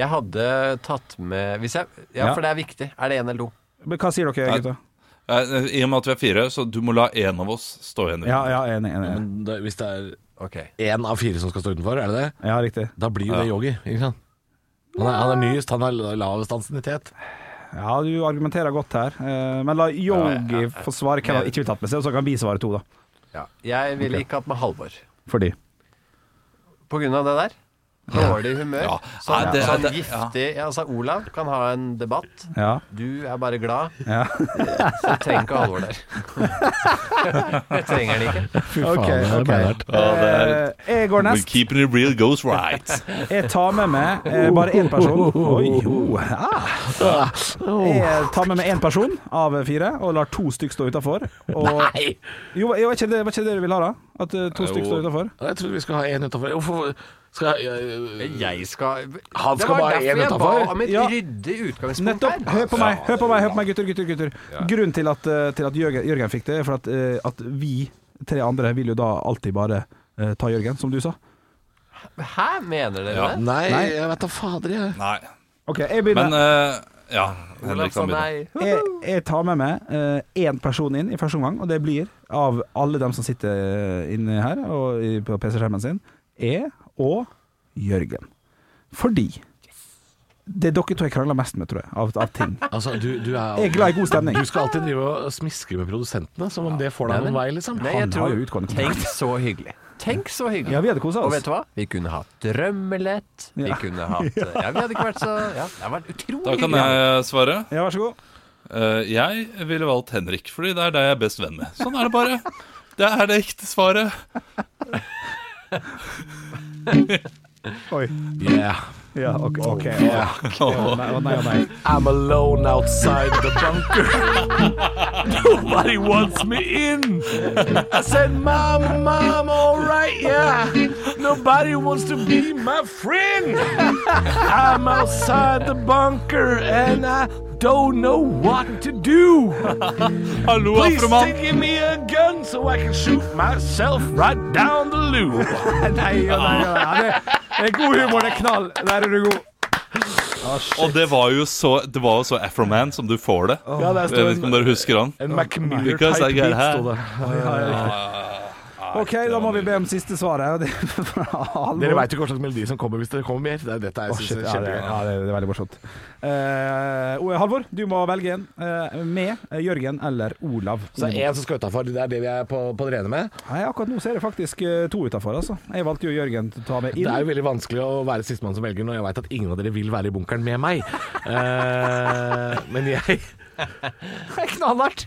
Speaker 7: jeg hadde tatt med Hvis jeg Ja,
Speaker 6: Ja.
Speaker 7: for det er viktig. Er det én eller to?
Speaker 6: Men Hva sier dere,
Speaker 5: Nei.
Speaker 6: gutta?
Speaker 5: Eh, I og med at vi er fire, så du må la én av oss stå igjen.
Speaker 6: Ja, ja, enig, enig. enig.
Speaker 3: Men da- Hvis det er
Speaker 7: Ok.
Speaker 3: én av fire som skal stå utenfor, er det det?
Speaker 6: Ja, riktig.
Speaker 3: Da blir jo det yogi, ikke sant? Han er, han er nyest, han har lavest ansiennitet.
Speaker 6: Ja, du argumenterer godt her. Eh, Men la Yogi få svare hvem han ikke vil tatt med seg, og så kan vi svare to, da.
Speaker 7: Ja. Jeg ville ikke hatt med Halvor.
Speaker 6: Fordi
Speaker 7: På grunn av det der. Dårlig humør.
Speaker 5: Ja.
Speaker 7: Sånn,
Speaker 5: Nei, det-
Speaker 7: sånn
Speaker 5: det- ja.
Speaker 7: giftig ja, altså, Olav kan ha en debatt.
Speaker 6: Ja.
Speaker 7: Du er bare glad.
Speaker 6: Ja.
Speaker 7: Så du trenger ikke Halvor der. jeg trenger han ikke.
Speaker 6: Fy
Speaker 3: Faen, det er beinhardt.
Speaker 5: det
Speaker 6: Jeg går
Speaker 5: When
Speaker 6: Eh, nest.
Speaker 5: keeping it real goes right.
Speaker 6: Jeg tar med meg eh, bare én person. Oi, jo. Ah. Jeg tar med meg én person av fire, og lar to stykk stå utafor. Nei! Jo, var var ikke det var ikke det dere ville ha, da? At eh, to stykk står utafor?
Speaker 3: Jeg trodde vi skulle ha én utafor. Hvorfor skal jeg
Speaker 7: Jeg skal
Speaker 3: Han skal
Speaker 7: Det var
Speaker 3: bare
Speaker 7: derfor
Speaker 3: ha en
Speaker 7: jeg
Speaker 3: utenfor.
Speaker 7: ba om et
Speaker 6: Ja.
Speaker 7: ryddig utgangspunkt
Speaker 6: Nettopp.
Speaker 7: her.
Speaker 6: Hør på meg, hør på meg, hør på meg gutter, gutter, gutter. Grunnen til at, eh, til at Jørgen, Jørgen fikk det, er for at, eh, at vi tre andre vil jo da alltid bare eh, ta Jørgen, som du sa.
Speaker 7: Hæ, mener dere det?
Speaker 3: Nei, jeg vet da fader, jeg.
Speaker 5: Nei.
Speaker 6: OK, jeg
Speaker 5: Men
Speaker 6: begynner.
Speaker 5: eh, ja.
Speaker 7: Olav
Speaker 5: Henrik
Speaker 7: sa
Speaker 5: kan begynne.
Speaker 7: nei.
Speaker 6: jeg, jeg tar med meg eh, én person inn i første omgang, og det blir, av alle dem som sitter eh, inne her og i, på PC-skjermen sin, jeg og Jørgen. Fordi det er dere to jeg krangler mest med, tror jeg, av, av ting.
Speaker 3: Altså, du, du er
Speaker 6: Jeg er glad i god stemning.
Speaker 3: Du skal alltid drive og smiske med produsentene, som om det får deg
Speaker 7: Nei,
Speaker 3: noen vei,
Speaker 7: men-
Speaker 3: liksom.
Speaker 7: Nei,
Speaker 6: Han
Speaker 7: jeg tror
Speaker 6: har jo utgående
Speaker 7: Tenk så hyggelig. Tenk så hyggelig.
Speaker 6: Ja, vi hadde kosa
Speaker 7: Og
Speaker 6: oss.
Speaker 7: vet du hva? Vi kunne hatt drømmelett. Vi
Speaker 6: Ja.
Speaker 7: kunne hatt Ja, vi hadde ikke vært så Ja, det hadde vært
Speaker 5: Da
Speaker 7: utrolig
Speaker 5: kan jeg svare.
Speaker 6: Ja, vær så god.
Speaker 5: Eh, jeg ville valgt Henrik, fordi det er deg jeg er best venn med. Sånn er det bare. Det er det ekte svaret.
Speaker 6: Oi.
Speaker 3: Yeah.
Speaker 6: Ja, OK. ok. Å, nei, å, nei, å, nei.
Speaker 3: I'm alone outside the bunker. Nobody wants me in. I said, Mom, Mom, all right, yeah. Nobody wants to be my friend. I'm outside the bunker and I don't know what to do.
Speaker 5: Hallo,
Speaker 3: Please
Speaker 5: Afroman.
Speaker 3: give me a gun so I can shoot myself right down the loo.
Speaker 6: Nei, ja, nei, ja, nei. Ja, Det, det er god humor, det er knall. Der er du god.
Speaker 5: Og det var jo så, det var jo så Afroman som du får det.
Speaker 3: Ja, der
Speaker 5: Jeg vet ikke om dere husker han.
Speaker 3: en Macmillan
Speaker 5: Because I get high. Ah,
Speaker 6: OK, da må vi be om siste svaret. og det er fra Halvor.
Speaker 3: Dere veit jo hva slags melodi som kommer hvis det kommer mer. Det er dette jeg
Speaker 6: Å, shit,
Speaker 3: synes er
Speaker 6: ja, det,
Speaker 3: kjempegøy.
Speaker 6: ja, det, det er veldig morsomt. Eh, og Halvor, du må velge en. eh, med eh, Jørgen eller Olav.
Speaker 3: Så det er én som skal utafor. Det er det vi er på, på det rene med.
Speaker 6: Nei, akkurat nå så er det faktisk eh, to utafor, altså. Jeg valgte jo Jørgen til å ta med
Speaker 3: Det er
Speaker 6: inn.
Speaker 3: jo veldig vanskelig å være sistemann som velger når jeg veit at ingen av dere vil være i bunkeren med meg. Eh, men jeg
Speaker 6: Knallhardt!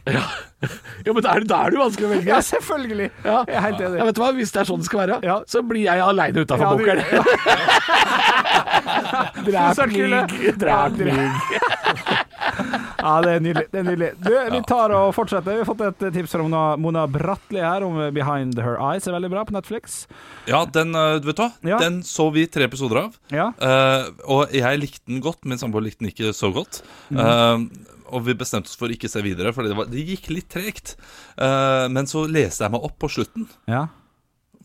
Speaker 3: Jo, men da er det da er det jo vanskelig å velge.
Speaker 6: Ja, selvfølgelig! Jeg er helt enig.
Speaker 3: Ja, vet du hva? Hvis det er sånn det skal være, så blir jeg aleine utafor
Speaker 6: Ja, du-
Speaker 3: bunkeren. Drep
Speaker 6: Søskenkule.
Speaker 3: mygg, drep mygg.
Speaker 6: Ja, det er nydelig. det er nydelig Du, Vi tar og fortsetter. Vi har fått et tips fra Mona, Mona Bratli her om Behind Her Eyes. er veldig bra på Netflix.
Speaker 5: Ja, den, eh, vet du hva?
Speaker 6: Ja.
Speaker 5: Den så vi tre episoder av.
Speaker 6: Ja.
Speaker 5: Eh, og jeg likte den godt, min samboer likte den ikke så godt.
Speaker 6: Mhm.
Speaker 5: Eh, og vi bestemte oss for å ikke se videre, for det, var, det gikk litt tregt. Eh, men så leste jeg meg opp på slutten.
Speaker 6: Ja.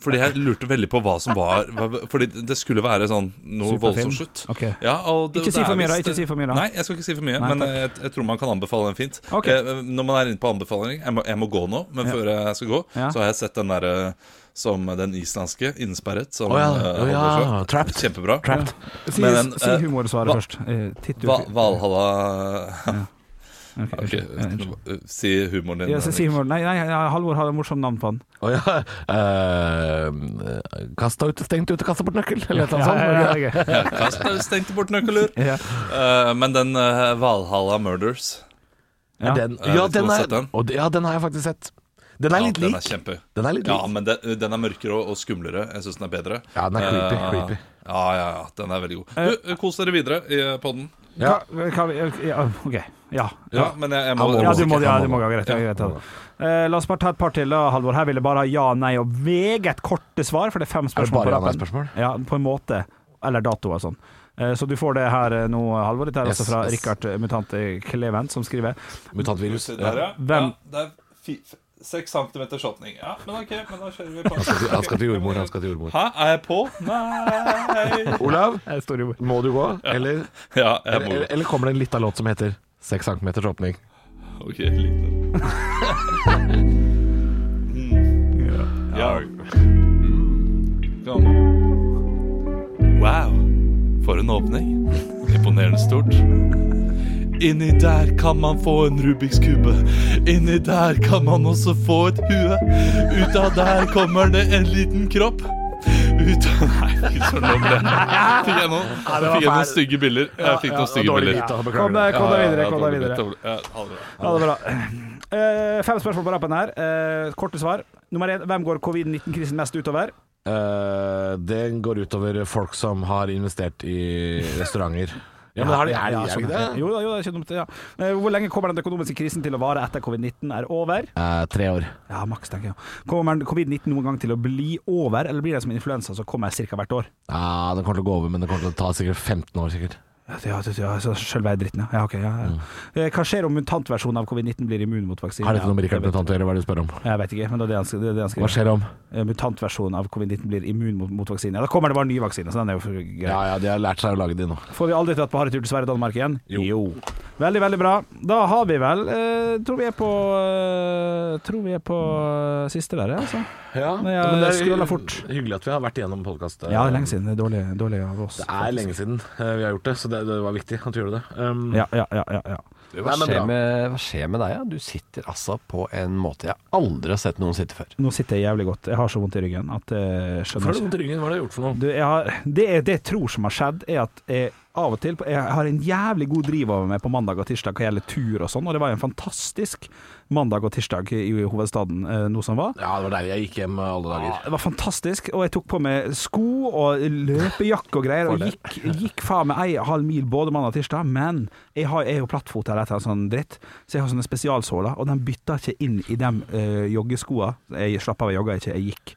Speaker 5: Fordi jeg lurte veldig på hva som var hva- Fordi det skulle være sånn noe voldsomt slutt.
Speaker 6: Ok.
Speaker 5: Ja, og det,
Speaker 6: Ikke si
Speaker 5: det er
Speaker 6: for mye da,
Speaker 5: visst-
Speaker 6: ikke si for mye da.
Speaker 5: Nei, jeg skal ikke si for mye,
Speaker 6: Nei,
Speaker 5: men jeg, jeg tror man kan anbefale den fint.
Speaker 6: Ok.
Speaker 5: Eh, når man er inne på anbefaling Jeg må, jeg må gå nå, men før jeg skal gå,
Speaker 6: Ja.
Speaker 5: så har jeg sett den derre som den islandske, innesperret, som
Speaker 3: Å ja,
Speaker 5: eh,
Speaker 3: å ja,
Speaker 5: holder seg.
Speaker 3: trapped.
Speaker 5: Kjempebra.
Speaker 3: Trapped.
Speaker 6: Si,
Speaker 5: Men den,
Speaker 6: si
Speaker 5: eh,
Speaker 6: humorsvaret
Speaker 5: hva-
Speaker 6: først. Eh, Tittel
Speaker 5: Va Valhalla
Speaker 6: Ok,
Speaker 5: Ok,
Speaker 6: unnskyld. Ja, unnskyld.
Speaker 5: Si humoren din.
Speaker 6: Ja, så si humor. Nei, nei, ja, Halvor har et morsomt navn på han.
Speaker 3: Å ja. eh, kasta ut, stengt ute, kasta bort nøkkel, eller et eller annet sånt.
Speaker 6: Ja, ja, ja, Sånn, ok.
Speaker 5: Ja, kast deg, stengte bort nøkkeler.
Speaker 6: Ja.
Speaker 5: Eh, men den eh, Valhalla Murders
Speaker 3: Er
Speaker 6: Ja.
Speaker 3: Den,
Speaker 5: Eh,
Speaker 3: ja,
Speaker 5: hvis du
Speaker 3: den
Speaker 5: har
Speaker 3: er,
Speaker 5: sett den.
Speaker 3: og det- ja, den har jeg faktisk sett. Den er
Speaker 5: ja,
Speaker 3: litt
Speaker 5: den er
Speaker 3: lik.
Speaker 5: kjempe.
Speaker 3: Den er litt
Speaker 5: Ja,
Speaker 3: lik.
Speaker 5: men den, den er mørkere og, og skumlere. Jeg syns den er bedre.
Speaker 3: Ja, den er creepy,
Speaker 5: Eh,
Speaker 3: creepy. Eh,
Speaker 5: Ja, ja, ja, den er veldig god. Du, eh, kos dere videre i eh, podden.
Speaker 3: Ja.
Speaker 6: Hva- hva- ja, OK. Ja.
Speaker 5: Ja, men jeg, jeg må
Speaker 6: Ja, du må, ja, du må gå greit.
Speaker 5: Ja.
Speaker 6: greit, greit. Eh, la oss bare ta et par til, da, Halvor. Her vil jeg bare ha ja, nei og meget korte svar, for det er fem
Speaker 3: Er det
Speaker 6: spørsmål
Speaker 3: bare
Speaker 6: på rappen.
Speaker 3: ja-nei-spørsmål?
Speaker 6: Ja, på en måte. Eller dato og sånn. Eh, Så du får det her eh, nå, Halvor. Dette er
Speaker 3: Yes,
Speaker 6: altså fra
Speaker 3: yes.
Speaker 6: Rikard eh, Mutant eh, Kleven, som skriver
Speaker 3: Mutantvirus.
Speaker 5: Se Der, ja. ja.
Speaker 6: Hvem-
Speaker 5: Det er fi, f- seks centimeter shotning. Ja, men ok, men da kjører vi på.
Speaker 3: Han skal til jordmor, han skal til jordmor.
Speaker 5: Hæ, er jeg på? Nei
Speaker 3: Olav,
Speaker 6: Jeg står jo
Speaker 3: må du gå? Eller,
Speaker 5: Ja, jeg må
Speaker 3: eller, eller kommer det en lita låt som heter 'Seks centimeters åpning'?
Speaker 5: Ok, liten. mm. ja. Mm. Kom. Wow, for en åpning. Imponerende stort. Inni der kan man få en Rubiks kube. Inni der kan man også få et hue. Ut av der kommer det en liten kropp. Ut av Nei, fy søren, nå ble jeg- Fikk jeg noen, fikk jeg noen stygge bilder? Jeg fikk noen stygge bilder.
Speaker 6: Kom eh, deg kom deg videre. Kom deg
Speaker 5: dårlig
Speaker 6: videre.
Speaker 5: bit, dårlig- ja, ha det bra.
Speaker 6: Ha det bra. Eh, fem spørsmål på rappen her. Eh, korte svar. Nummer én, hvem går covid-19-krisen mest utover?
Speaker 3: Eh, den går utover folk som har investert i restauranter. Ja, sånn, men har de, er de er de ikke det?
Speaker 6: sånn Jo da, jo da, ikke dumt, ja. Eh, Hvor lenge kommer den økonomiske krisen til å vare etter covid-19 er over?
Speaker 3: Eh, tre år.
Speaker 6: Ja, maks, tenker jeg. Kommer den covid-19 noen gang til å bli over, eller blir det som influensa som kommer ca. hvert år?
Speaker 3: Ja, den kommer til å gå over, men den kommer til å ta sikkert 15 år. sikkert
Speaker 6: Ja, det- ja, det- ja, så selv er jeg dritten, ja. ja, ok, ja, ja. Eh, Hva skjer om mutantversjonen av covid-19 blir immun mot vaksine?
Speaker 3: Mm. Har dette noe med Rikard
Speaker 6: Ja, jeg vet-
Speaker 3: Mutant å gjøre? Hva er det du spør om?
Speaker 6: Jeg vet ikke, men det er det han sk- det er det han
Speaker 3: Hva
Speaker 6: skriver.
Speaker 3: skjer om?
Speaker 6: Eh, Mutantversjonen av covid-19 blir immun mot, mot vaksine. Ja, da kommer det bare nye vaksiner, så den er jo for grei.
Speaker 3: Ja, ja, de har lært seg å lage de nå.
Speaker 6: Får vi aldri tatt på harretur til Sverige og Danmark igjen?
Speaker 3: Jo.
Speaker 6: Veldig, veldig bra. Da har vi vel eh, Tror vi er på eh, Tror vi er på eh, siste der, ja, altså.
Speaker 3: Ja,
Speaker 6: men jeg
Speaker 3: det
Speaker 6: scroller fort.
Speaker 3: Hyggelig at vi har vært igjennom podkast.
Speaker 6: Ja, det er lenge siden. Det er dårlig, dårlig av oss.
Speaker 3: Det er lenge siden eh, vi har gjort det, så det, det var viktig at vi gjorde det. Um,
Speaker 6: Ja, ja, ja, ja, ja.
Speaker 8: Hva skjer, med, hva skjer med deg? Ja? Du sitter altså på en måte jeg aldri har sett noen sitte før.
Speaker 6: Nå sitter jeg jævlig godt. Jeg har så vondt i ryggen at jeg
Speaker 3: Får
Speaker 6: skjønner
Speaker 3: du
Speaker 6: ikke.
Speaker 3: vondt i ryggen? Hva har du gjort for noe?
Speaker 6: Du, jeg har, det, er- det jeg tror som har skjedd, er at jeg av og til Jeg har en jævlig god driv over meg på mandag og tirsdag hva gjelder tur og sånn, og det var jo en fantastisk mandag og tirsdag i hovedstaden eh, nå som var.
Speaker 3: Ja, det var deilig. Jeg gikk hjem eh, alle
Speaker 6: Ja,
Speaker 3: dager.
Speaker 6: det var fantastisk, og jeg tok på meg sko og løpejakke og greier, og gikk, gikk faen meg ei og halv mil både mandag og tirsdag, men jeg, har, jeg er jo plattfot eller et eller annet sånn dritt, så jeg har sånne spesialsåler, og de bytta ikke inn i de uh, joggeskoa. Jeg slapp av, jeg jogga ikke, jeg gikk.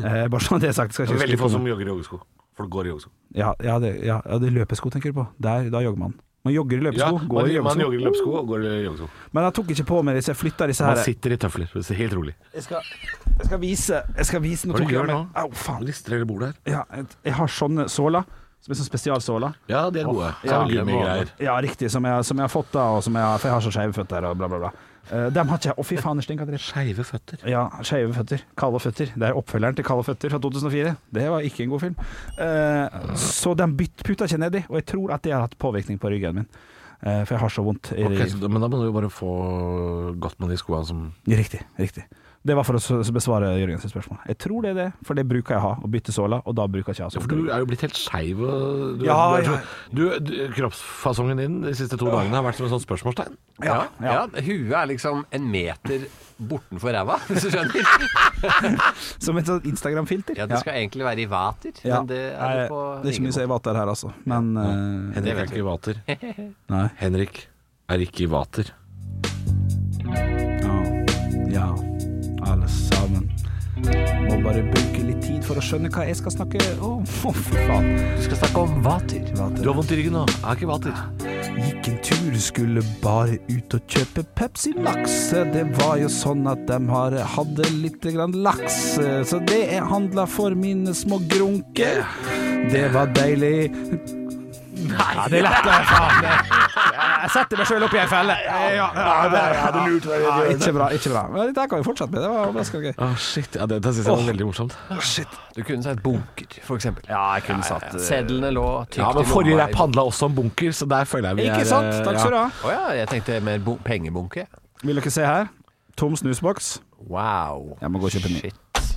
Speaker 6: Eh, bare sånn at det er sagt.
Speaker 3: Det
Speaker 6: Skal ikke
Speaker 3: er veldig
Speaker 6: skryte
Speaker 3: få
Speaker 6: på
Speaker 3: som
Speaker 6: meg.
Speaker 3: jogger i joggesko. Folk går i joggesko.
Speaker 6: ja, ja, det, ja, ja, det er løpesko tenker du på. Der, da jogger man. Man jogger i løpesko, går i
Speaker 3: man
Speaker 6: joggesko.
Speaker 3: jogger i løpesko og går i joggesko.
Speaker 6: Men jeg tok ikke på meg disse, jeg flytta disse
Speaker 3: Man
Speaker 6: her.
Speaker 3: sitter i tøfler. så det er Helt rolig.
Speaker 6: Jeg skal, jeg skal vise, jeg skal vise
Speaker 3: Hva
Speaker 6: tok jeg
Speaker 3: gjør
Speaker 6: meg-
Speaker 3: du nå?
Speaker 6: Au, faen.
Speaker 3: Lister hele bordet her.
Speaker 6: Ja, jeg, jeg har sånne såler, som er sånn spesialsåler.
Speaker 3: Ja, de er gode. Så
Speaker 6: ja,
Speaker 3: er det gummigreier.
Speaker 6: Ja, riktig, som jeg, som jeg har fått da, og som jeg, har- for jeg har så skeive føtter og bla, bla, bla. Eh, dem har ikke jeg Å, fy faen, det stinker dritt.
Speaker 3: Skeive føtter.
Speaker 6: Ja, skeive føtter. Kalde føtter. Det er oppfølgeren til Kalde føtter fra 2004. Det var ikke en god film. Eh, så den bytt puta ikke nedi, og jeg tror at det har hatt påvirkning på ryggen min. Eh, for jeg har så vondt. I,
Speaker 3: Ok, så, men da må du jo bare få godt med de skoene som
Speaker 6: Riktig. riktig Det var for å s- besvare Jørgens spørsmål. Jeg tror det er det, for det bruker jeg å ha, å bytte såler, og da bruker jeg ikke å
Speaker 3: Ja,
Speaker 6: ha så
Speaker 3: for
Speaker 6: vondt i
Speaker 3: du
Speaker 6: ryggen.
Speaker 3: er jo blitt helt skeiv. og Du,
Speaker 6: Ja,
Speaker 3: du, du, du, kroppsfasongen din de siste to dagene har vært som en sånn spørsmålstegn.
Speaker 8: Ja, ja. Huet er liksom en meter bortenfor ræva, hvis du skjønner.
Speaker 6: Som et sånt Instagram-filter.
Speaker 8: Ja, det skal egentlig være i vater,
Speaker 6: Ja.
Speaker 8: men det er
Speaker 6: Nei,
Speaker 8: det på
Speaker 6: det er ikke mye å si vater her, altså. Men eh,
Speaker 3: Henrik er ikke i vater.
Speaker 6: Nei.
Speaker 3: Henrik er ikke i vater.
Speaker 6: Ja. eh, ja, alle sammen. Må bare bruke litt tid for å skjønne hva jeg skal snakke om. Å, fy faen.
Speaker 8: Du skal snakke om vater.
Speaker 3: Du har vondt i ryggen nå. Jeg er ikke i vater.
Speaker 6: Gikk en tur, skulle bare ut og kjøpe Pepsi Max. Det var jo sånn at de har, hadde litt grann laks, så det jeg handla for mine små grunker. Det var deilig. Nei, ja, det er lett, det. Faen. Jeg setter meg sjøl opp i ei felle. Ja, ja, ja, ikke bra. ikke bra Men Dette her kan vi fortsette med. Det var overraskende gøy.
Speaker 3: Å, shit. Ja, Dette syns jeg var veldig morsomt.
Speaker 7: Du kunne sagt bunker, for eksempel.
Speaker 6: Ja, jeg kunne satt eh,
Speaker 8: Sedlene lå tykt
Speaker 3: Ja, men
Speaker 8: i
Speaker 3: Forrige
Speaker 8: lomma.
Speaker 3: rapp handla også om bunker, så der føler jeg vi er
Speaker 6: Ikke sant?
Speaker 3: eh,
Speaker 6: Takk
Speaker 3: ja.
Speaker 6: skal du ha.
Speaker 8: Å ja, jeg tenkte mer bo- pengebunke.
Speaker 6: Vil dere se her? Tom snusboks.
Speaker 8: Wow.
Speaker 6: Jeg må gå og kjøpe en ny.
Speaker 8: Shit.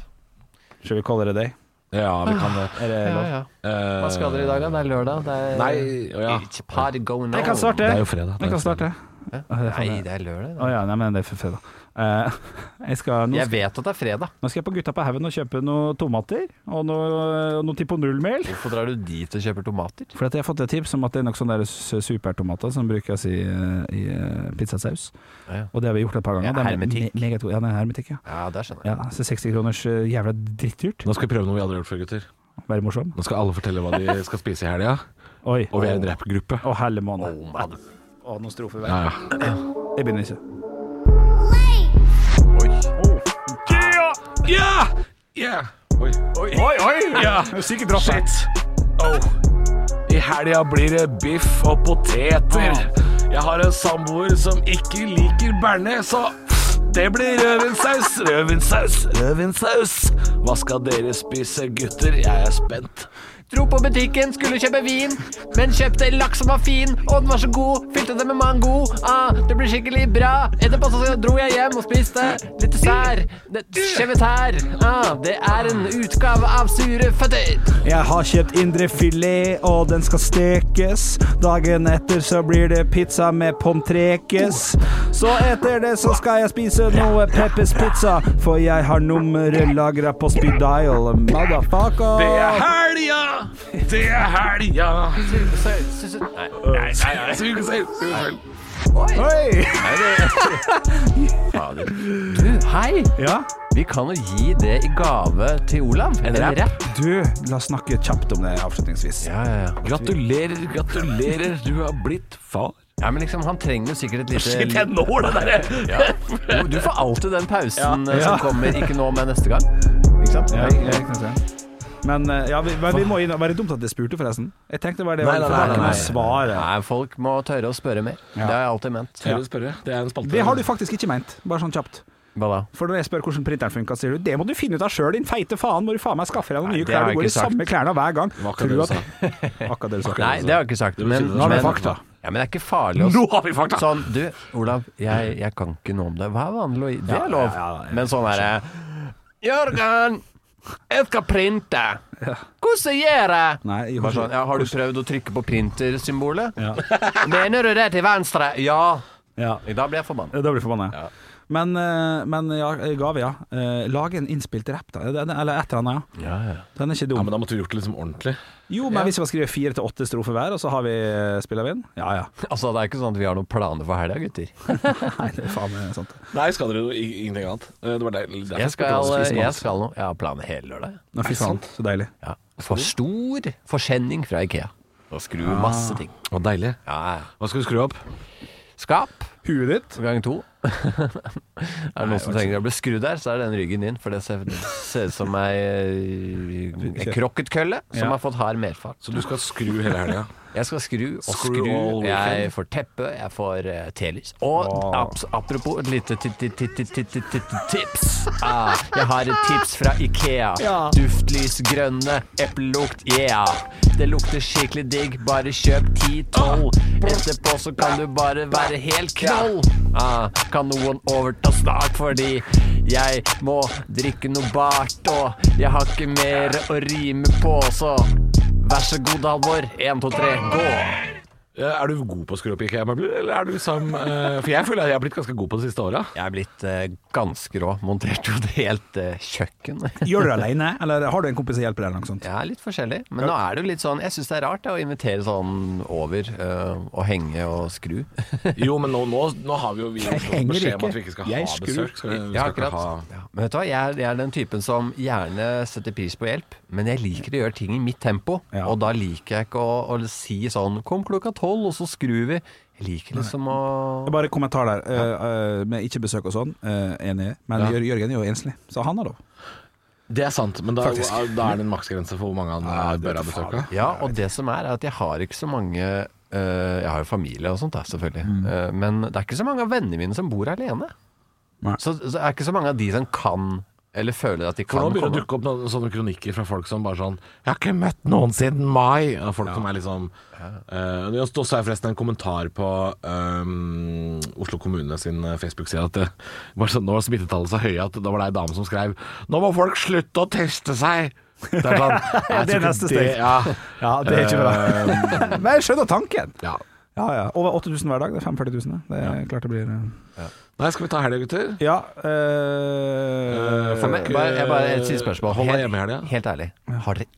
Speaker 6: Skal vi kalle det day?
Speaker 3: Ja, vi kan det.
Speaker 6: Er det
Speaker 8: Ja,
Speaker 6: lov?
Speaker 8: ja.
Speaker 3: Eh,
Speaker 8: Hva skal dere i dag, da? Det er lørdag. Det er
Speaker 3: Nei, å ja.
Speaker 8: It's a party going on.
Speaker 6: Jeg kan starte.
Speaker 3: Det er jo fredag. det er
Speaker 6: Jeg kan
Speaker 3: jo fredag.
Speaker 6: starte.
Speaker 8: Hæ?
Speaker 6: Å, det er faen
Speaker 8: Nei,
Speaker 6: meg-
Speaker 8: det er lørdag.
Speaker 6: Å
Speaker 8: da.
Speaker 6: ja, nei, men det er for fredag. Eh, jeg skal, nå,
Speaker 8: Jeg vet at det er fredag.
Speaker 6: nå skal jeg på Gutta på haugen og kjøpe noen tomater og noe, noe Tipo Null-mel.
Speaker 8: Hvorfor drar du dit og kjøper tomater?
Speaker 6: For at jeg har fått et tips om at det er nok sånne der s- supertomater som brukes i, eh, i eh, pizzasaus.
Speaker 8: Ja, ja.
Speaker 6: Og det har vi gjort et par ganger.
Speaker 8: Ja,
Speaker 6: Det er me-
Speaker 8: hermetikk.
Speaker 6: me- meget god- Ja, det er hermetikk, ja.
Speaker 8: Ja, der skjønner jeg.
Speaker 6: ja så 60 kroners eh, jævla drittdyrt.
Speaker 3: Nå skal vi prøve noe vi aldri har gjort før, gutter.
Speaker 6: Være morsom.
Speaker 3: Nå skal alle fortelle hva de skal spise i helga,
Speaker 6: Oi.
Speaker 3: og vi er en rappgruppe.
Speaker 6: Å, helle måned.
Speaker 8: Oh, man.
Speaker 6: Å, noen strofer hver.
Speaker 3: Ja, ja.
Speaker 6: Jeg begynner ikke.
Speaker 3: Oi. Oi, oi! Ja. Sikkert dropp. Shit. Oh. I helga blir det biff og poteter. Jeg har en samboer som ikke liker bearnés, så det blir rødvinssaus, rødvinssaus, rødvinssaus. Hva skal dere spise, gutter? Jeg er spent.
Speaker 8: Dro på butikken, skulle kjøpe vin, men kjøpte laks som var fin, og den var så god, fylte den med mango. Ah, det ble skikkelig bra. Etterpå så dro jeg hjem og spiste litt dessert. Det- Chevetær. Ah, det er en utgave av Sure føtter.
Speaker 6: Jeg har kjøpt indrefilet, og den skal stekes. Dagen etter så blir det pizza med pomtrekes. Så etter det så skal jeg spise noe Peppers pizza, for jeg har nummeret lagra på speed dial, motherfucker.
Speaker 3: Det er helga! Det er helga!
Speaker 8: Nei.
Speaker 3: Nei, nei, nei. Sugesaus, sugesaus.
Speaker 6: Oi!
Speaker 8: Du, hei!
Speaker 6: Ja,
Speaker 8: Vi kan jo gi det i gave til Olav. En rapp.
Speaker 6: du, la oss snakke kjapt om det avslutningsvis.
Speaker 8: Ja, ja, ja.
Speaker 3: Gratulerer, gratulerer, du har blitt far.
Speaker 8: ja, men liksom, han trenger jo sikkert et lite
Speaker 3: Shit, jeg når det derre!
Speaker 8: Ja. Jo, Du får alltid den pausen eh,
Speaker 6: Ja.
Speaker 8: som kommer, ikke nå, men neste gang. Ikke sant?
Speaker 6: Ja, jeg- jeg kan se. Men eh, ja, vi, men vi må inn, var det dumt at jeg spurte, forresten? Jeg tenkte bare det var
Speaker 3: Nei, nei,
Speaker 6: for det
Speaker 3: nei,
Speaker 6: er ikke noe
Speaker 3: nei.
Speaker 6: svar.
Speaker 8: Nei, folk må tørre å spørre mer. Det har jeg alltid ment.
Speaker 3: Tør du spørre? Det er en spalte.
Speaker 6: Det har du faktisk ikke meint, bare sånn kjapt.
Speaker 8: Hva da?
Speaker 6: For når jeg spør hvordan printeren funka, sier du det må du finne ut av sjøl, din feite faen. Må du faen meg skaffe deg noen
Speaker 8: Nei,
Speaker 6: nye
Speaker 8: det har
Speaker 6: klær.
Speaker 8: jeg
Speaker 6: Du går i
Speaker 8: ikke sagt.
Speaker 6: samme klærne hver gang.
Speaker 3: Hva kan
Speaker 6: Tror
Speaker 3: du
Speaker 6: at-
Speaker 3: sa?
Speaker 6: Akkurat det du sa.
Speaker 8: Nei, det har jeg ikke sagt. Men,
Speaker 3: Nå har vi
Speaker 8: men-
Speaker 3: fakta.
Speaker 8: Ja, men det er ikke farlig å
Speaker 3: Nå har vi fakta.
Speaker 8: Sånn, du, Olav, jeg, jeg kan ikke noe om det. Hva er vanlig å gi? Det er lov. Men sånn er det. Jørgen, jeg skal printe. Hvordan gjør jeg?
Speaker 6: Nei, jeg
Speaker 8: Bare sånn, ja, har du prøvd å trykke på printersymbolet? Mener du det til venstre? Ja.
Speaker 6: Ja.
Speaker 8: Da blir jeg forbanna.
Speaker 6: Da blir du forbanna. Ja. Men, eh, men ja, gave, ja. Eh, Lag en innspilt rapp, da. Den- Eller et eller annet, ja.
Speaker 8: Ja, ja.
Speaker 6: Den er ikke dum.
Speaker 3: Ja, men da måtte vi gjort det liksom ordentlig.
Speaker 6: jo, men hvis vi skal skrive fire til åtte strofer hver, og så har vi eh, spiller vi inn? Ja ja.
Speaker 8: Altså, det er ikke sånn at vi har noen planer for helga, gutter.
Speaker 6: Nei, det er faen meg sant.
Speaker 3: Nei, skal dere jo i- ingenting annet? Eh, Det var der, derfor
Speaker 8: Jeg skal,
Speaker 3: spurte jeg også.
Speaker 8: jeg skal nå. Jeg har planer hele lørdag.
Speaker 6: Nå, fy faen, så deilig.
Speaker 8: Ja. For stor forsending fra Ikea. Og skru masse ting.
Speaker 3: Å, deilig.
Speaker 8: Ja.
Speaker 3: Hva skal du skru opp?
Speaker 8: Skap
Speaker 6: Huet ditt?
Speaker 8: gang to. er det noen som trenger å bli skrudd der, så er den ryggen din. For det ser det ser ut som ei eh, en krokketkølle som
Speaker 6: Ja.
Speaker 8: har fått hard merfart.
Speaker 3: Så du skal skru hele helga?
Speaker 8: Jeg skal skru og
Speaker 3: Screw
Speaker 8: skru.
Speaker 3: all weekend.
Speaker 8: Jeg får teppe, jeg får eh, telys. Og abs- apropos et lite ti- ti- ti- ti- ti- ti- ti- ti- tips. Ah, jeg har et tips fra Ikea. Duftlys, grønne, eplelukt, yeah. Det lukter skikkelig digg, bare kjøp 10-12. Etterpå så kan du bare være helt knoll. Ah, kan noen overta snart, fordi jeg må drikke noe bart, og jeg har ikke mer å rime på, så Vær så god, Halvor. Én, to, tre, gå!
Speaker 3: Eh, Er du god på å skru opp IKEA-møbler, eller er du som eh, For jeg føler at jeg har blitt ganske god på det siste åra.
Speaker 8: Jeg er blitt eh, ganske rå. Monterte jo et helt eh, kjøkken.
Speaker 6: Gjør du det alene, eller har du en kompis som hjelper deg? eller noe sånt?
Speaker 8: Jeg er litt forskjellig. Men nå er det jo litt sånn Jeg syns det er rart det, å invitere sånn over eh, og henge og skru.
Speaker 3: Jo, men nå, nå, nå har vi jo vi har fått
Speaker 6: henger
Speaker 3: beskjed om
Speaker 6: ikke.
Speaker 3: at vi ikke skal
Speaker 6: Jeg
Speaker 3: ha
Speaker 6: skrur.
Speaker 3: besøk. Skal vi, vi
Speaker 8: Ja,
Speaker 3: skal ikke
Speaker 8: akkurat. Ja. Men vet du hva, jeg er, jeg er den typen som gjerne setter pris på hjelp, men jeg liker å gjøre ting i mitt tempo.
Speaker 6: Ja.
Speaker 8: Og da liker jeg ikke å, å si sånn 'kom klokka tolv, og så skrur vi'. Jeg liker liksom å
Speaker 6: Bare kommentar der. Eh, eh, med ikke besøk og sånn, eh, enig. Men
Speaker 3: Ja.
Speaker 6: Jør- Jørgen er jo enslig, så han har lov.
Speaker 3: ha Det er sant, men da,
Speaker 6: Faktisk.
Speaker 3: da er det en maksgrense for hvor mange han eh, bør ha besøk av.
Speaker 8: Ja, og det som er, er at jeg har ikke så mange eh, Jeg har jo familie og sånt, da, selvfølgelig. Eh, men det er ikke så mange av vennene mine som bor alene.
Speaker 6: Nei.
Speaker 8: Så, så det er ikke så mange av de som kan, eller føler at de
Speaker 3: For
Speaker 8: kan
Speaker 3: nå begynner det å
Speaker 8: komme.
Speaker 3: dukke opp noen sånne kronikker fra folk som bare sånn 'Jeg har ikke møtt noen siden mai'. Og folk som er liksom eh, Det står også her forresten en kommentar på ehm, Oslo kommune sin eh, Facebook-side at det, bare sånn, nå var smittetallet så høye at da var det ei dame som skrev 'Nå må folk slutte å teste seg'. Det er, sånn, jeg
Speaker 6: det er
Speaker 3: tror ikke
Speaker 6: neste steg.
Speaker 3: Ja,
Speaker 6: Ja, det er ikke
Speaker 3: bra.
Speaker 6: Eh, Men jeg skjønner tanken!
Speaker 3: ja.
Speaker 6: Ja, ja. Over 8000 hver dag. Det er 45 000. Det er klart det blir eh.
Speaker 3: Nei, skal vi ta helga, gutter?
Speaker 6: Ja. eh,
Speaker 8: For meg, bare, jeg bare et siste spørsmål.
Speaker 3: Hold deg
Speaker 8: Helt-
Speaker 3: hjemme i helga.
Speaker 8: Helt ærlig, har dere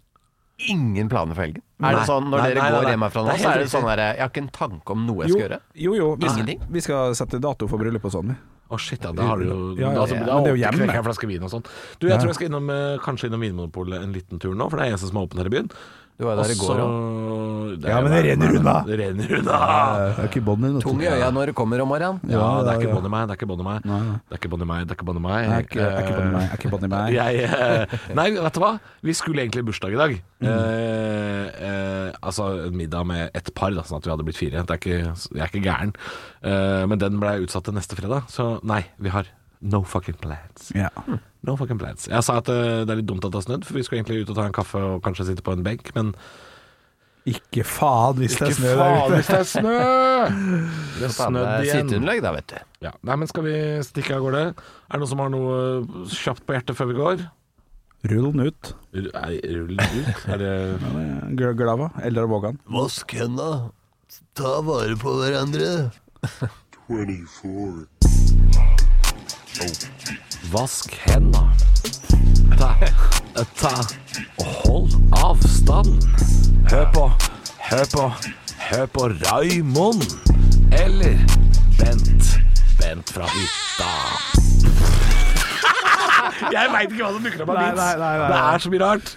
Speaker 8: ingen planer for helgen? Er det
Speaker 3: Nei.
Speaker 8: sånn, Når
Speaker 3: Nei,
Speaker 8: dere
Speaker 3: nei, nei,
Speaker 8: går
Speaker 3: nei.
Speaker 8: hjem herfra nå,
Speaker 3: Det er
Speaker 8: så er
Speaker 3: helt
Speaker 8: det sånn der Jeg har ikke en tanke om noe jeg
Speaker 6: jo,
Speaker 8: skal gjøre.
Speaker 6: jo, jo. Vi,
Speaker 8: Ingenting?
Speaker 6: vi skal sette dato for bryllup og sånn. vi.
Speaker 3: Å shit, ja, da har du jo
Speaker 6: Ja, ja,
Speaker 3: da- altså,
Speaker 6: ja,
Speaker 3: Da
Speaker 6: men det er jo
Speaker 3: åpner-
Speaker 6: hjemme.
Speaker 3: knekker jeg en flaske vin og sånn. Du, jeg tror jeg skal innom, eh, kanskje innom Vinmonopolet en liten tur nå, for det er eneste som er åpen her i byen.
Speaker 8: Du var jo der i går òg.
Speaker 3: også,
Speaker 6: Ja, men det renner unna.
Speaker 3: Det renner unna.
Speaker 6: Eh, Det er ikke bånd i noe.
Speaker 8: Tung i øya når det kommer om morgenen.
Speaker 3: Ja, det er
Speaker 6: ja,
Speaker 3: ikke
Speaker 6: ja.
Speaker 3: bånd i meg, det er ikke bånd i meg. Det er ikke bånd i meg, det er ikke bånd i meg.
Speaker 6: Det er ikke- det er ikke bånd i meg, det er ikke bånd i meg.
Speaker 3: Jeg, eh, nei, vet du hva? Vi skulle egentlig i bursdag i dag.
Speaker 6: Mm.
Speaker 3: Eh, eh, altså en middag med ett par, da, sånn at vi hadde blitt fire. Det er ikke, jeg er ikke gæren. Eh, men den ble utsatt til neste fredag, så nei, vi har no fucking plans.
Speaker 6: Ja.
Speaker 3: No fucking plans. Jeg sa at eh, det er litt dumt at det har snødd, for vi skulle egentlig ut og ta en kaffe og kanskje sitte på en benk, men
Speaker 6: Ikke faen hvis det er snø der
Speaker 3: faen
Speaker 6: ute.
Speaker 3: hvis det er snø! Det har snødd igjen.
Speaker 8: Sitteunderlag, da, vet du.
Speaker 3: Ja. Nei, men skal vi stikke av gårde? Er det noen som har noe eh, kjapt på hjertet før vi går?
Speaker 6: Rull den ut.
Speaker 3: Ru- er- Rull ut? Er det
Speaker 6: Gl- Glava eller Vågan.
Speaker 8: Vask henda. Ta vare på hverandre.
Speaker 3: Vask henda. Ta, ta og hold avstand. Hør på, hør på, hør på Raimond. Eller Bent. Bent fra hytta. Jeg veit ikke hva som dukker opp av
Speaker 6: Nei,
Speaker 3: vits.
Speaker 6: nei, nei, nei.
Speaker 3: Det er så mye rart.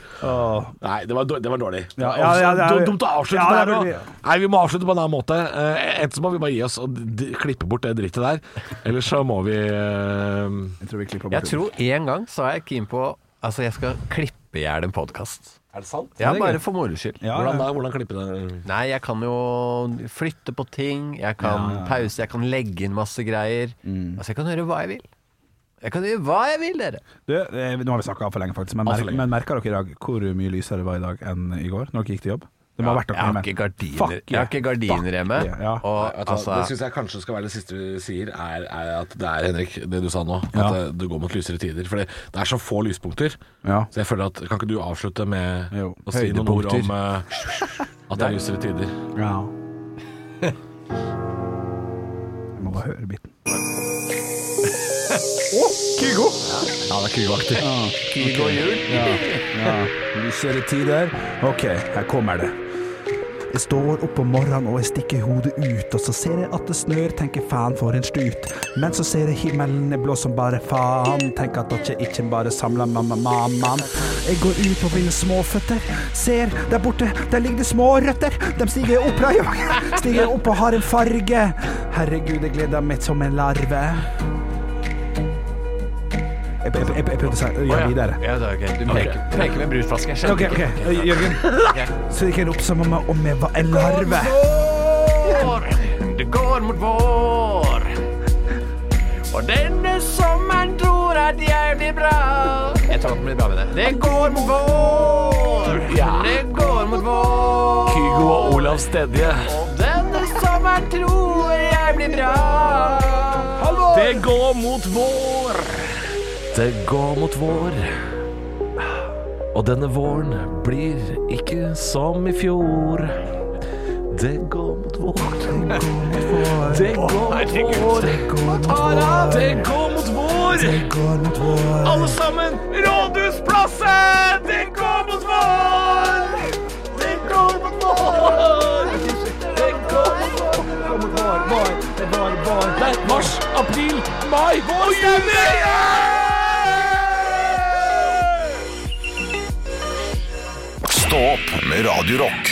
Speaker 3: Nei, det var, dår- det var dårlig.
Speaker 6: Ja, ja, ja, det er-
Speaker 3: Dum- Dumt å avslutte
Speaker 6: Ja,
Speaker 3: på
Speaker 6: det er
Speaker 3: det her
Speaker 6: veldig-
Speaker 3: nå. Nei, vi må avslutte på en annen måte. Eh, Enten så må vi bare gi oss og d- klippe bort det drittet der, eller så må vi eh,
Speaker 6: Jeg tror vi klipper bort
Speaker 8: Jeg tror en gang så er jeg keen på Altså, jeg skal klippe i hjel en podkast.
Speaker 3: Er det sant?
Speaker 8: Ja, bare for moro skyld.
Speaker 6: Ja,
Speaker 3: Hvordan
Speaker 6: ja.
Speaker 3: da? Hvordan klippe det?
Speaker 8: Nei, jeg kan jo flytte på ting, jeg kan pause, jeg kan legge inn masse greier.
Speaker 6: Mm.
Speaker 8: Altså, jeg kan gjøre hva jeg vil. Jeg kan gjøre hva jeg vil, dere.
Speaker 6: Du, eh, nå har vi snakka altfor lenge, faktisk. Men,
Speaker 3: Alt
Speaker 6: mer,
Speaker 3: for lenge.
Speaker 6: men merka dere i dag hvor mye lysere det var i dag enn i går, når dere gikk til jobb? Det må ha vært
Speaker 8: Jeg
Speaker 6: noe
Speaker 8: har
Speaker 6: med.
Speaker 8: ikke gardiner,
Speaker 6: Fuck
Speaker 8: jeg har ikke gardiner hjemme.
Speaker 6: yeah, ja.
Speaker 8: Og altså
Speaker 3: det syns jeg kanskje skal være det siste du sier, er, er at det er Henrik, det du sa nå. At
Speaker 6: Ja.
Speaker 3: det, det går mot lysere tider. For det, det er så få lyspunkter.
Speaker 6: Ja.
Speaker 3: Så jeg føler at Kan ikke du avslutte med
Speaker 6: Jo.
Speaker 3: å si noen ord
Speaker 8: Høydepunkter.
Speaker 3: om eh, at det er lysere tider?
Speaker 6: Ja. Jeg må bare høre biten. Å, Kygo!
Speaker 3: Ja, det er kuaktig.
Speaker 8: Kygo jul.
Speaker 6: Ja, lysere tider. Ok, her kommer det. Jeg står opp om morgenen og jeg stikker hodet ut, og så ser jeg at det snør, tenker faen for en stut. Men så ser jeg himmelen er blå som bare faen, tenker at dere ikke bare samler mamma, mamma. Jeg går ut på mine småføtter, ser der borte, der ligger det små røtter. De stiger opp, da, jo. stiger opp og har en farge. Herregud, jeg gleder meg som en larve. Jeg, jeg, jeg, jeg prøvde å si gjør videre.
Speaker 8: Ja, det er ok. Du peker, peker med brusflaske. Jeg
Speaker 6: Ok, ok,
Speaker 8: skjønner ikke.
Speaker 6: Eh, Jørgen. Så gikk jeg opp sammen med om jeg var en larve.
Speaker 8: Vår, det går mot vår. Og denne sommeren tror at jeg blir bra. Jeg tror at det blir bra med det. Det går mot vår. Det går mot vår.
Speaker 3: Kygo og Olav Stedje.
Speaker 8: Og denne sommeren tror jeg blir bra.
Speaker 3: Det går mot vår. Det går mot vår. Og denne våren blir ikke som i fjor. Det går mot vår. Det går mot vår. Hva tar av? Det går mot vår. Alle sammen, Rådhusplasset! Det går mot vår. Det går mot vår. Det går mot vår. Det er mars, april, mai og juni!
Speaker 1: Stå opp med Radio Rock.